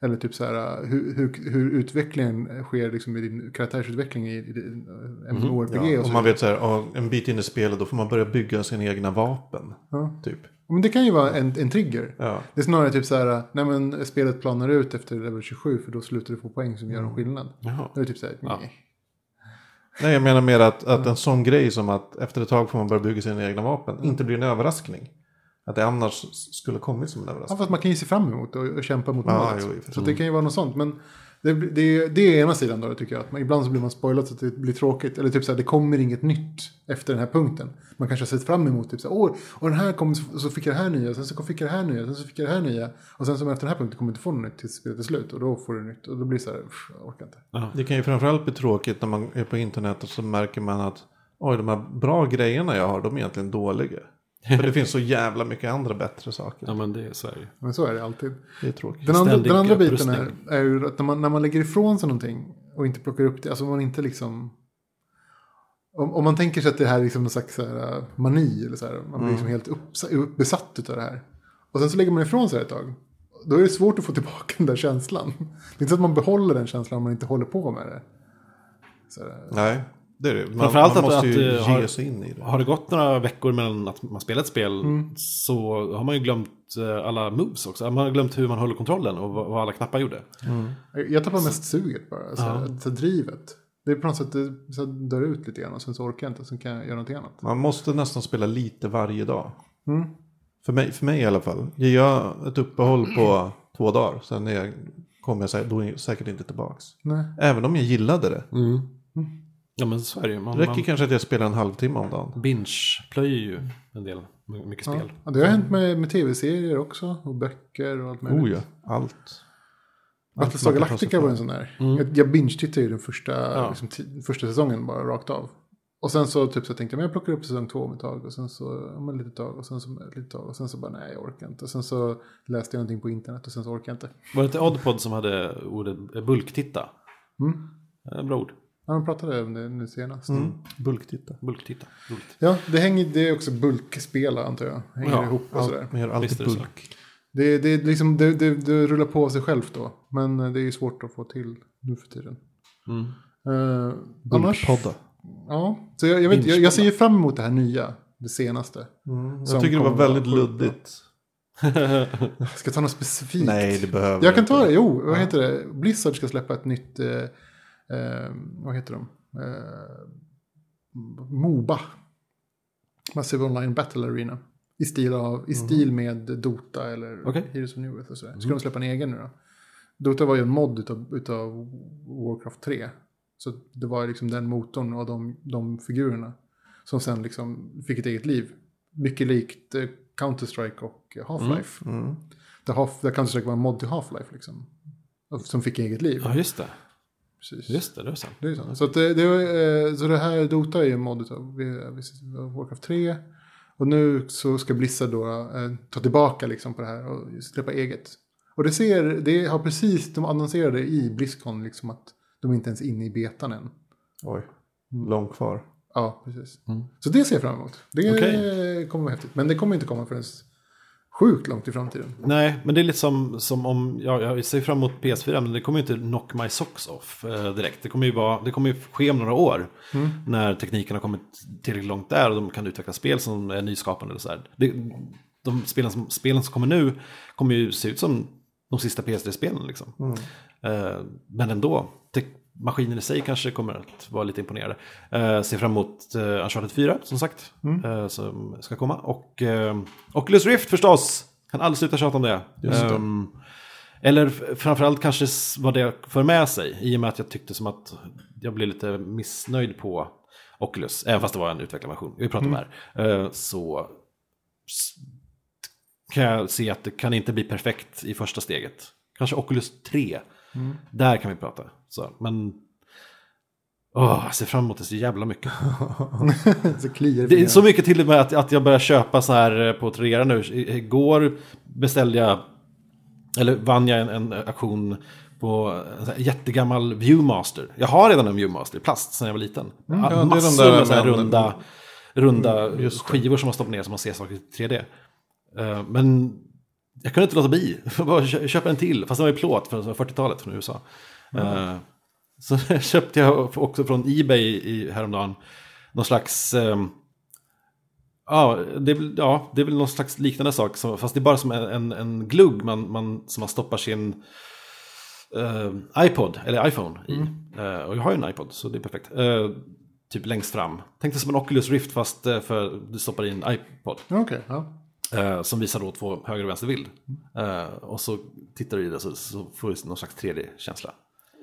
Eller typ så här uh, hur, hur, hur utvecklingen sker liksom i din karaktärsutveckling i, i din uh, MMORPG. Ja, och så och man vidare. vet så här, ja, en bit in i spelet då får man börja bygga sina egna vapen. Ja. Typ. Men det kan ju vara en, en trigger. Ja. Det är snarare typ så här, uh, nej men spelet planar ut efter level 27 för då slutar du få poäng som gör en skillnad. Jaha. Det är typ så här, nej. Nej, jag menar mer att, att en sån grej som att efter ett tag får man börja bygga sina egna vapen Mm. inte blir en överraskning. Att det annars s- skulle kommit som en Ja, överraskning. fast man kan ju se fram emot och, och kämpa mot Ja, målet. jo, i och för sig. Mm. så att det kan ju vara något sånt. Men det, det, det är ena sidan då, tycker jag. Att man, ibland så blir man spoilad så att det blir tråkigt. Eller typ så här, det kommer inget nytt efter den här punkten. Man kanske har sett fram emot typ så här, åh, och den här kom, och så fick jag det här nya, sen så fick jag det här nya, sen så fick jag det här nya. Och sen så efter den här punkten kommer du inte få något nytt tills spelet är slut. Och då får du nytt. Och då blir det så här, "Pff, jag orkar inte. Det kan ju framförallt bli tråkigt när man är på internet och så märker man att oj, de här bra grejerna jag har, de är egentligen dåliga. För det finns så jävla mycket andra bättre Ja, saker. men det är Sverige. Men så är det alltid. Det är tråkigt. Den andra, Ständig den andra biten upprustning. är, är ju att när man, när man lägger ifrån sig någonting och inte plockar upp det, alltså om man inte liksom... Om, om man äh, Mm. tänker sig att det här är liksom någon slags så här, eh, mani eller så här, man blir liksom helt upp, besatt av det här. Och sen så lägger man ifrån sig det ett tag. Då är det svårt att få tillbaka den där känslan. Det är inte så att man behåller den känslan om man inte håller på med det. Så, eh, Nej, det är det. Man, man Framförallt måste att- att ju du ge har- sig in i det. Har det gått några veckor mellan att man spelat ett spel så har man ju glömt eh, alla moves också. Man har glömt hur man håller kontrollen och vad vad alla knappar gjorde. äh, jag tappar mest suget bara. Så, Ja. så drivet. Det är på något sätt det så här dör ut lite grann och sen så orkar jag inte. Sen kan jag göra någonting annat. Man måste nästan spela lite varje dag. Mm. För mig, för mig i alla fall. Ger jag ett uppehåll på två dagar, sen är jag, kommer jag sä- då är jag säkert inte tillbaka. Nej. Även om jag gillade det. Ja men så är det ju. Man, Det räcker man kanske att jag spelar en halvtimme om dagen. binge-plöjer ju en del. My- Mycket spel. Ja, det har hänt med, med tv-serier också. Och böcker och allt möjligt. Oh ja, allt. Allt Battlestar man kan ta sig Galactica var för. en sån där. Jag, jag binge-tittade ju den första, Ja. liksom, ti- första säsongen bara rakt av. Och sen så typ så tänkte jag, men jag plockar upp säsong två om ett tag och sen så om ett litet tag och sen så om ett litet tag och sen så bara nej jag orkar inte. Och sen så läste jag någonting på internet och sen så orkar jag inte. Var det inte Oddpod som hade ordet eh, bulktitta? Mm. Eh, Bra ord. Ja, de pratade om det nu senast. Mm. Bulktitta. Bulktitta. Roligt. Ja, det hänger, det är också bulkspel antar jag. Hänger Ja, ihop och sådär. Allt, man gör Visst alltid är det så. bulk. Det, det, är liksom, det, det, det rullar på av sig självt då. Men eh, det är ju svårt att få till nu för tiden. Mm. Eh, annars, Bulkpodda. Ja, så jag, jag, vet, jag, jag ser ju fram emot det här nya, det senaste. Mm. Som Jag tycker det var kommer vara väldigt sjukt bra. luddigt. Ska jag ta något specifikt? Nej, det behöver Jag kan ta inte. det, jo, vad heter det? Blizzard ska släppa ett nytt, eh, eh, vad heter de? Eh, Moba. Massive Online Battle Arena. I stil, Mhm. av, i stil med Dota eller Okej. Heroes of New Earth och sådär. Ska Mm. de släppa en egen nu då? Dota var ju en mod utav, utav Warcraft 3. Så det var ju liksom den motorn och de, de figurerna. Som sen liksom fick ett eget liv. Mycket likt eh, Counter-Strike och eh, Half-Life. Mm. Där, Half, där Counter-Strike var en mod till Half-Life liksom. Och Som fick eget liv. Ja just det. Precis. Just det, det är sant. Det är sant. Så, att det, det, är, eh, så det här Dota är ju en mod utav vi- vi- Warcraft 3. Och nu så ska Blizzard då eh, ta tillbaka liksom på det här och släppa eget. Och det ser, det har precis, de annonserade i Blizzcon liksom att de inte ens är inne i betan än. Oj, långt kvar. Ja, precis. Mm. Så det ser jag fram emot. Det Okej. kommer vara häftigt. Men det kommer inte komma förrän sjukt långt i framtiden. Nej, men det är lite som, som om, ja, jag ser fram emot PS4, men det kommer ju inte knock my socks off eh, direkt. Det kommer, ju vara, det kommer ju ske om några år, när tekniken har kommit tillräckligt långt där och de kan utveckla spel som är nyskapande. Eller så här. Det, de spelen som, spelen som kommer nu kommer ju se ut som de sista PS3-spelen. Liksom. Eh, men ändå, te- maskinen i sig kanske kommer att vara lite imponerande. Eh, ser fram emot eh, Uncharted 4 som sagt, eh, som ska komma. Och eh, Oculus Rift förstås! Kan aldrig sluta tjata om det. Ehm, eller f- framförallt kanske s- vad det för med sig. I och med att jag tyckte som att jag blev lite missnöjd på Oculus. Även fast det var en utvecklarversion. Vi pratar om det här. Eh, Så s- kan jag se att det kan inte bli perfekt i första steget. Kanske Oculus 3. Där kan vi prata. Så, men... Åh, jag ser fram emot det så jävla mycket. så kliar Det är så mycket till och med att, att jag börjar köpa så här eh, på Tradera nu. I- Igår beställde jag, eller vann jag en, en auktion på en sån här jättegammal Viewmaster. Jag har redan en Viewmaster i plast sedan jag var liten. ja, det är de Massor där Mm, med så här med- runda, runda skivor som man stoppar ner så man ser saker i 3D. Eh, Men jag kunde inte låta bli. Jag bara kö- köpa en till, fast den var i plåt från 40-talet från USA. Mm. Eh, Så köpte jag också från Ebay i, häromdagen någon slags... ehm, Ja det, är, väl- ja, det är väl någon slags liknande sak, som, fast det är bara som en, en, en glugg man, man, som man stoppar sin eh, iPod, eller iPhone, i. Eh, och jag har ju en iPod, så det är perfekt. Eh, typ längst fram. Tänkte som en Oculus Rift, fast eh, för du stoppar i en iPod. Okej, ja. Eh, som visar då två höger och vänster bild. Eh, och så tittar du i det så, så får du någon slags 3D-känsla.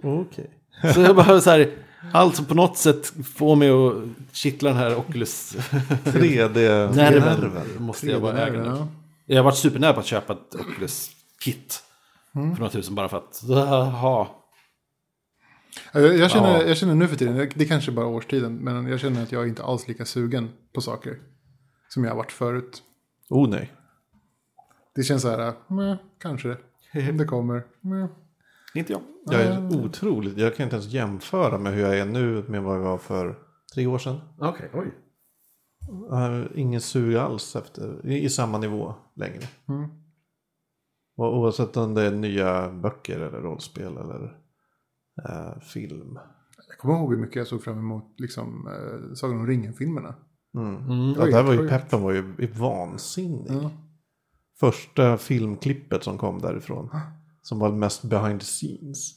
Okej. Så jag bara så här, allt som på något sätt får mig att kittla den här Oculus-nerven 3D-nerven. måste jag bara äga nu. Ja. Jag har varit supernära på att köpa ett Oculus-kit för några tusen bara för att ha. Ja, Jag, jag, känner, Ja. jag känner nu för tiden, det- det kanske bara är årstiden, men jag känner att jag är inte alls lika sugen på saker som jag har varit förut. Oh nej. Det känns så här, meh, kanske det. Det kommer. meh. Inte jag. Jag är otroligt, jag kan inte ens jämföra med hur jag är nu med vad jag var för tre år sedan. Okej, oj. Jag har ingen sug alls efter, i i samma nivå längre. Och oavsett om det är nya böcker eller rollspel eller eh, film. Jag kommer ihåg hur mycket jag såg fram emot liksom, eh, Sagan om ringen-filmerna. Mm. Mm. Ja, där var ju sjukt. peppen var ju vansinnig. Ja. Första filmklippet som kom därifrån. Som var mest behind the scenes.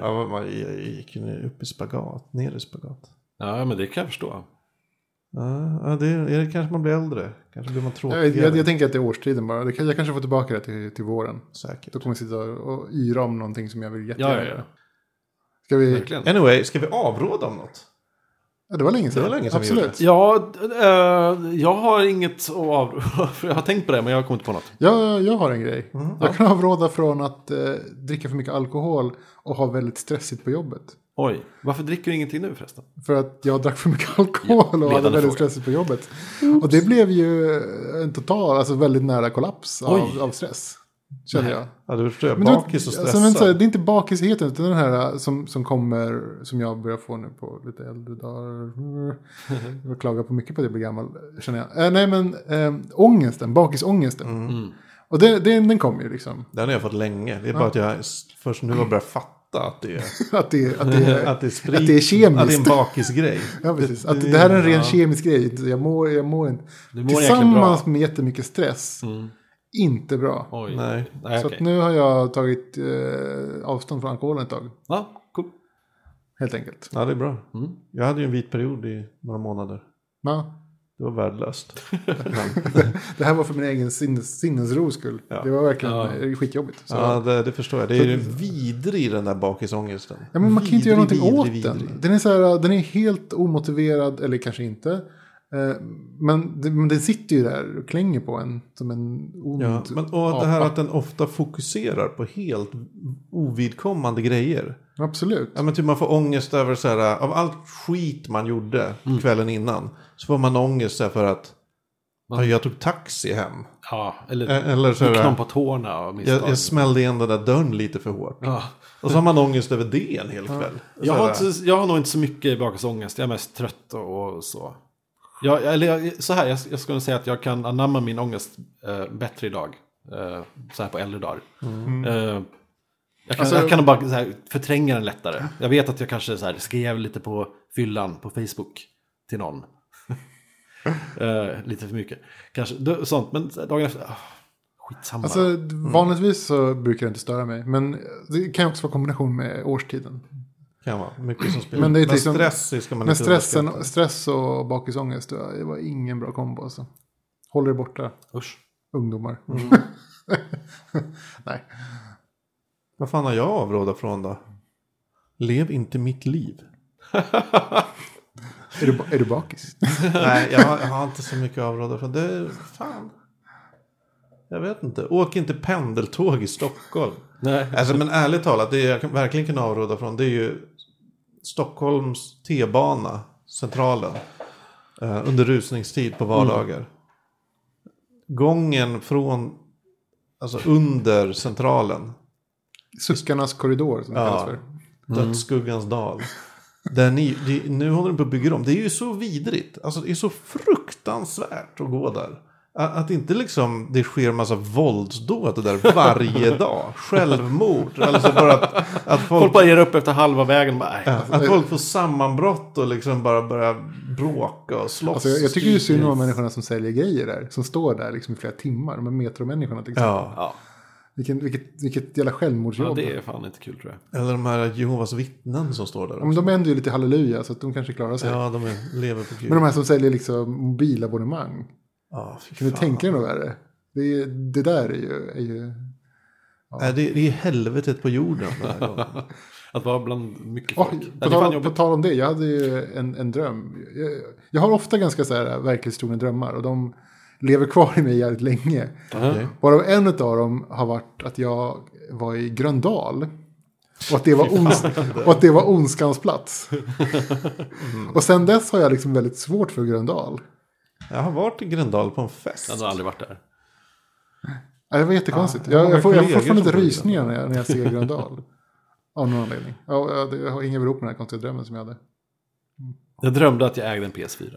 Ja, man- man gick ju ner- upp i spagat, ner i spagat. Ja, men det kan jag förstå. Ja, ja, det, är det kanske man blir äldre. Kanske blir man Jag, tråkigare. vet- jag, jag tänker att det är årstiden bara. Det kan, jag kanske får tillbaka det till, till våren. Säkert. Då kommer jag sitta och yra om någonting som jag vill jättegärna Ja, ja, göra. ja. Ska vi... Verkligen. Anyway, ska vi avråda om något? Ja, det var länge sedan. Det var länge sedan vi gjorde Absolut. det. Ja, d- eh, jag har inget att av... för Jag har tänkt på det, men jag har kommit på något. Jag, jag har en grej. Mm. jag kan avråda från att eh, dricka för mycket alkohol och ha väldigt stressigt på jobbet. Oj, varför dricker du ingenting nu förresten? För att jag drack för mycket alkohol och hade ledande väldigt fråga. stressigt på jobbet. Och det blev ju en total, alltså väldigt nära kollaps av, Oj. av stress. Kände jag. Ja, du förstår, jag Men du vet, bakis och alltså, men, stressad. så här, det är inte bakisheten utan den här äh, som, som kommer, som jag börjar få nu på lite äldre dagar. Jag klagar på mycket på att jag blir gammal, känner jag. Eh, nej men, äh, ångesten, bakisångesten. Och det, det, den kommer ju liksom. Den har jag fått länge. Det är bara att jag s- först nu har börjat fatta att det är, Att det, att det, är- att det är sprit. Att det är kemiskt. Att det är en bakisgrej. ja, precis. Att det här är en ren kemisk grej. Jag mår, jag mår inte. mår Tillsammans jäkligt med jättemycket stress. Inte bra. Oj. Nej. Nej Så okej. att nu har jag tagit eh, avstånd från alkoholen ett tag. Ja, cool. Helt enkelt. Ja, det är bra. Mm. Jag hade ju en vit period i några månader. Ja. Det var värdelöst. Det här var för min egen sinnes, sinnesros skull. Det var verkligen eh, skitjobbigt. Så. Ja, det, det förstår jag. Det är ju vidrig den där bakisångesten. Ja, men man kan ju inte göra någonting åt vidrig. den. Den är, så här, den är helt omotiverad, eller kanske inte. Eh, Men, det- men den sitter ju där och klänger på en som en ond Ja, men, och det här apa. att den ofta fokuserar på helt ovidkommande grejer. Absolut. Ja, men typ man får ångest över så här, av allt skit man gjorde Mm. kvällen innan. Så får man ångest så här för att "Ja, jag tog taxi hem. Ja, eller E- Eller så knån här, på tårna av misstag. jag, jag smällde igen den där dörren lite för hårt. ja. Och så har man ångest över det en hel kväll. Så Jag har, här, inte, jag har nog inte så mycket bakisångest. Jag är mest trött och, och så. Jag, eller jag, så här, jag, jag skulle säga att jag kan anamma min ångest eh, bättre idag. Eh, så här på äldre dagar. Eh, jag, kan, Mm. Alltså- jag kan bara så här, förtränga den lättare. Jag vet att jag kanske så här, skrev lite på fyllan på Facebook till någon. eh, lite för mycket. Kanske, då- sånt. Men dagen efter, ah, skitsamma. Alltså, Mm. Vanligtvis så brukar det inte störa mig. Men det kan ju också vara kombination med årstiden. kan vara mycket som spelar. Men Men, det är liksom- stress ska man Men inte stressen, underskatta. stress och bakisångest, det var ingen bra kombo alltså. Håller det borta, Usch. ungdomar. Mm. Nej. Vad fan har jag avråda från då? Lev inte mitt liv. Är du, är du bakis? Nej, jag har, jag har inte så mycket att avråda från. Det är, fan. Jag vet inte. Åk inte pendeltåg i Stockholm. Nej. Alltså, men ärligt talat, det jag kan- verkligen kan avråda från det är ju Stockholms T-bana, centralen. eh, under rusningstid på vardagar. Gången från, alltså under centralen, Suckarnas korridor som det Ja. kallas för. Mm. Dödsskuggans dal. Där ni, det- nu håller de på att bygga om. Det är ju så vidrigt. Alltså det är så fruktansvärt att gå där. A- Att inte liksom det sker en massa våldsdåd där varje dag. Självmord. Alltså bara att, att, folk, Folk bara ger upp efter halva vägen. Bara, nej. att folk får sammanbrott och liksom bara börjar bråka och slåss. Alltså, jag, jag tycker ju synd om människorna som säljer grejer där. Som står där liksom i flera timmar. De här metromänniskorna till exempel. Ja, Ja. Vilken, vilket, vilket jävla Ja, självmordsjobb. det är fan inte kul tror jag. eller de här Jehovas vittnen som står där. Ja, men de ändå ju lite halleluja så att de kanske klarar sig. Ja, de är, lever på Gud. Men de här som säljer liksom mobilabonnemang. Ja, fy Kan du fan. tänka dig något värre? Det, är- det där är ju... Är ju Nej, det, det är helvetet på jorden den här gången. Att vara bland mycket folk. Oj, ja, på, det är fan tal, på jobbigt. tal om det, jag hade ju en, en dröm. Jag, jag har ofta ganska så här verklighetstrogna drömmar och de lever kvar i mig jävligt länge. Okej. Varav en av dem har varit att jag var i Gröndal. Och att det var, ons och att det var ondskans plats. Och sen dess har jag liksom väldigt svårt för Gröndal. Jag har varit i Gröndal på en fest. Jag har aldrig varit där. Ja, det var jättekonstigt. Ja, jag har jag, jag, får, jag får kollegor fortfarande som lite bor i rysningar när jag, när jag ser Gröndal. Av någon anledning. Ja, och jag, jag har ingen beror på den här konstiga drömmen som jag hade. Jag drömde att jag ägde en PS4.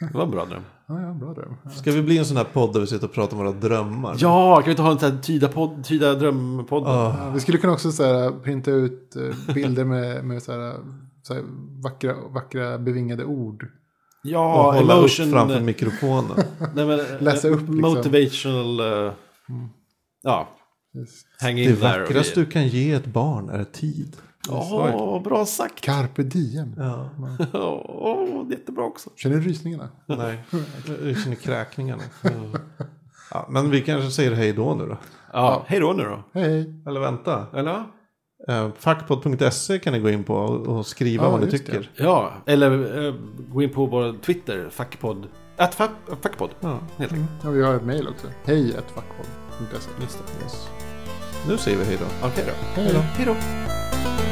Det var en bra dröm. Ja, ja, bra dröm. Ska vi bli en sån här podd där vi sitter och pratar om våra drömmar? Ja, kan vi inte ha en sån här tyda, podd, tyda drömpodd? Ah, Ja, vi skulle kunna också så här, printa ut eh, bilder med, med så här, så här, vackra, vackra bevingade ord. och ja hålla emotion. upp framför mikrofonen. nej, men, läsa upp, liksom. Motivational. eh, Ja, Precis. hang Det in there. och vackraste du kan ge ett barn är tid. grejer. Åh, bra sagt. Carpe diem. Ja. Åh, det är jättebra också. Känner du rysningarna? Nej, jag känner kräkningarna. Mm. Ja, men vi kanske säger hej då nu då. Ja, hej då nu då. Hej, hej. Eller vänta. Eller? Eh, Fackpodd.se kan ni gå in på och och skriva Ja, vad ni just det. tycker. Ja, eller eh, gå in på vår Twitter, fackpodd. Att fack- fackpodd, Ja. helt enkelt. Ja, vi har ett mejl också. Hej, ett fackpodd. Just det. Nu säger vi hej då. Okej då. Hej då. Hej då.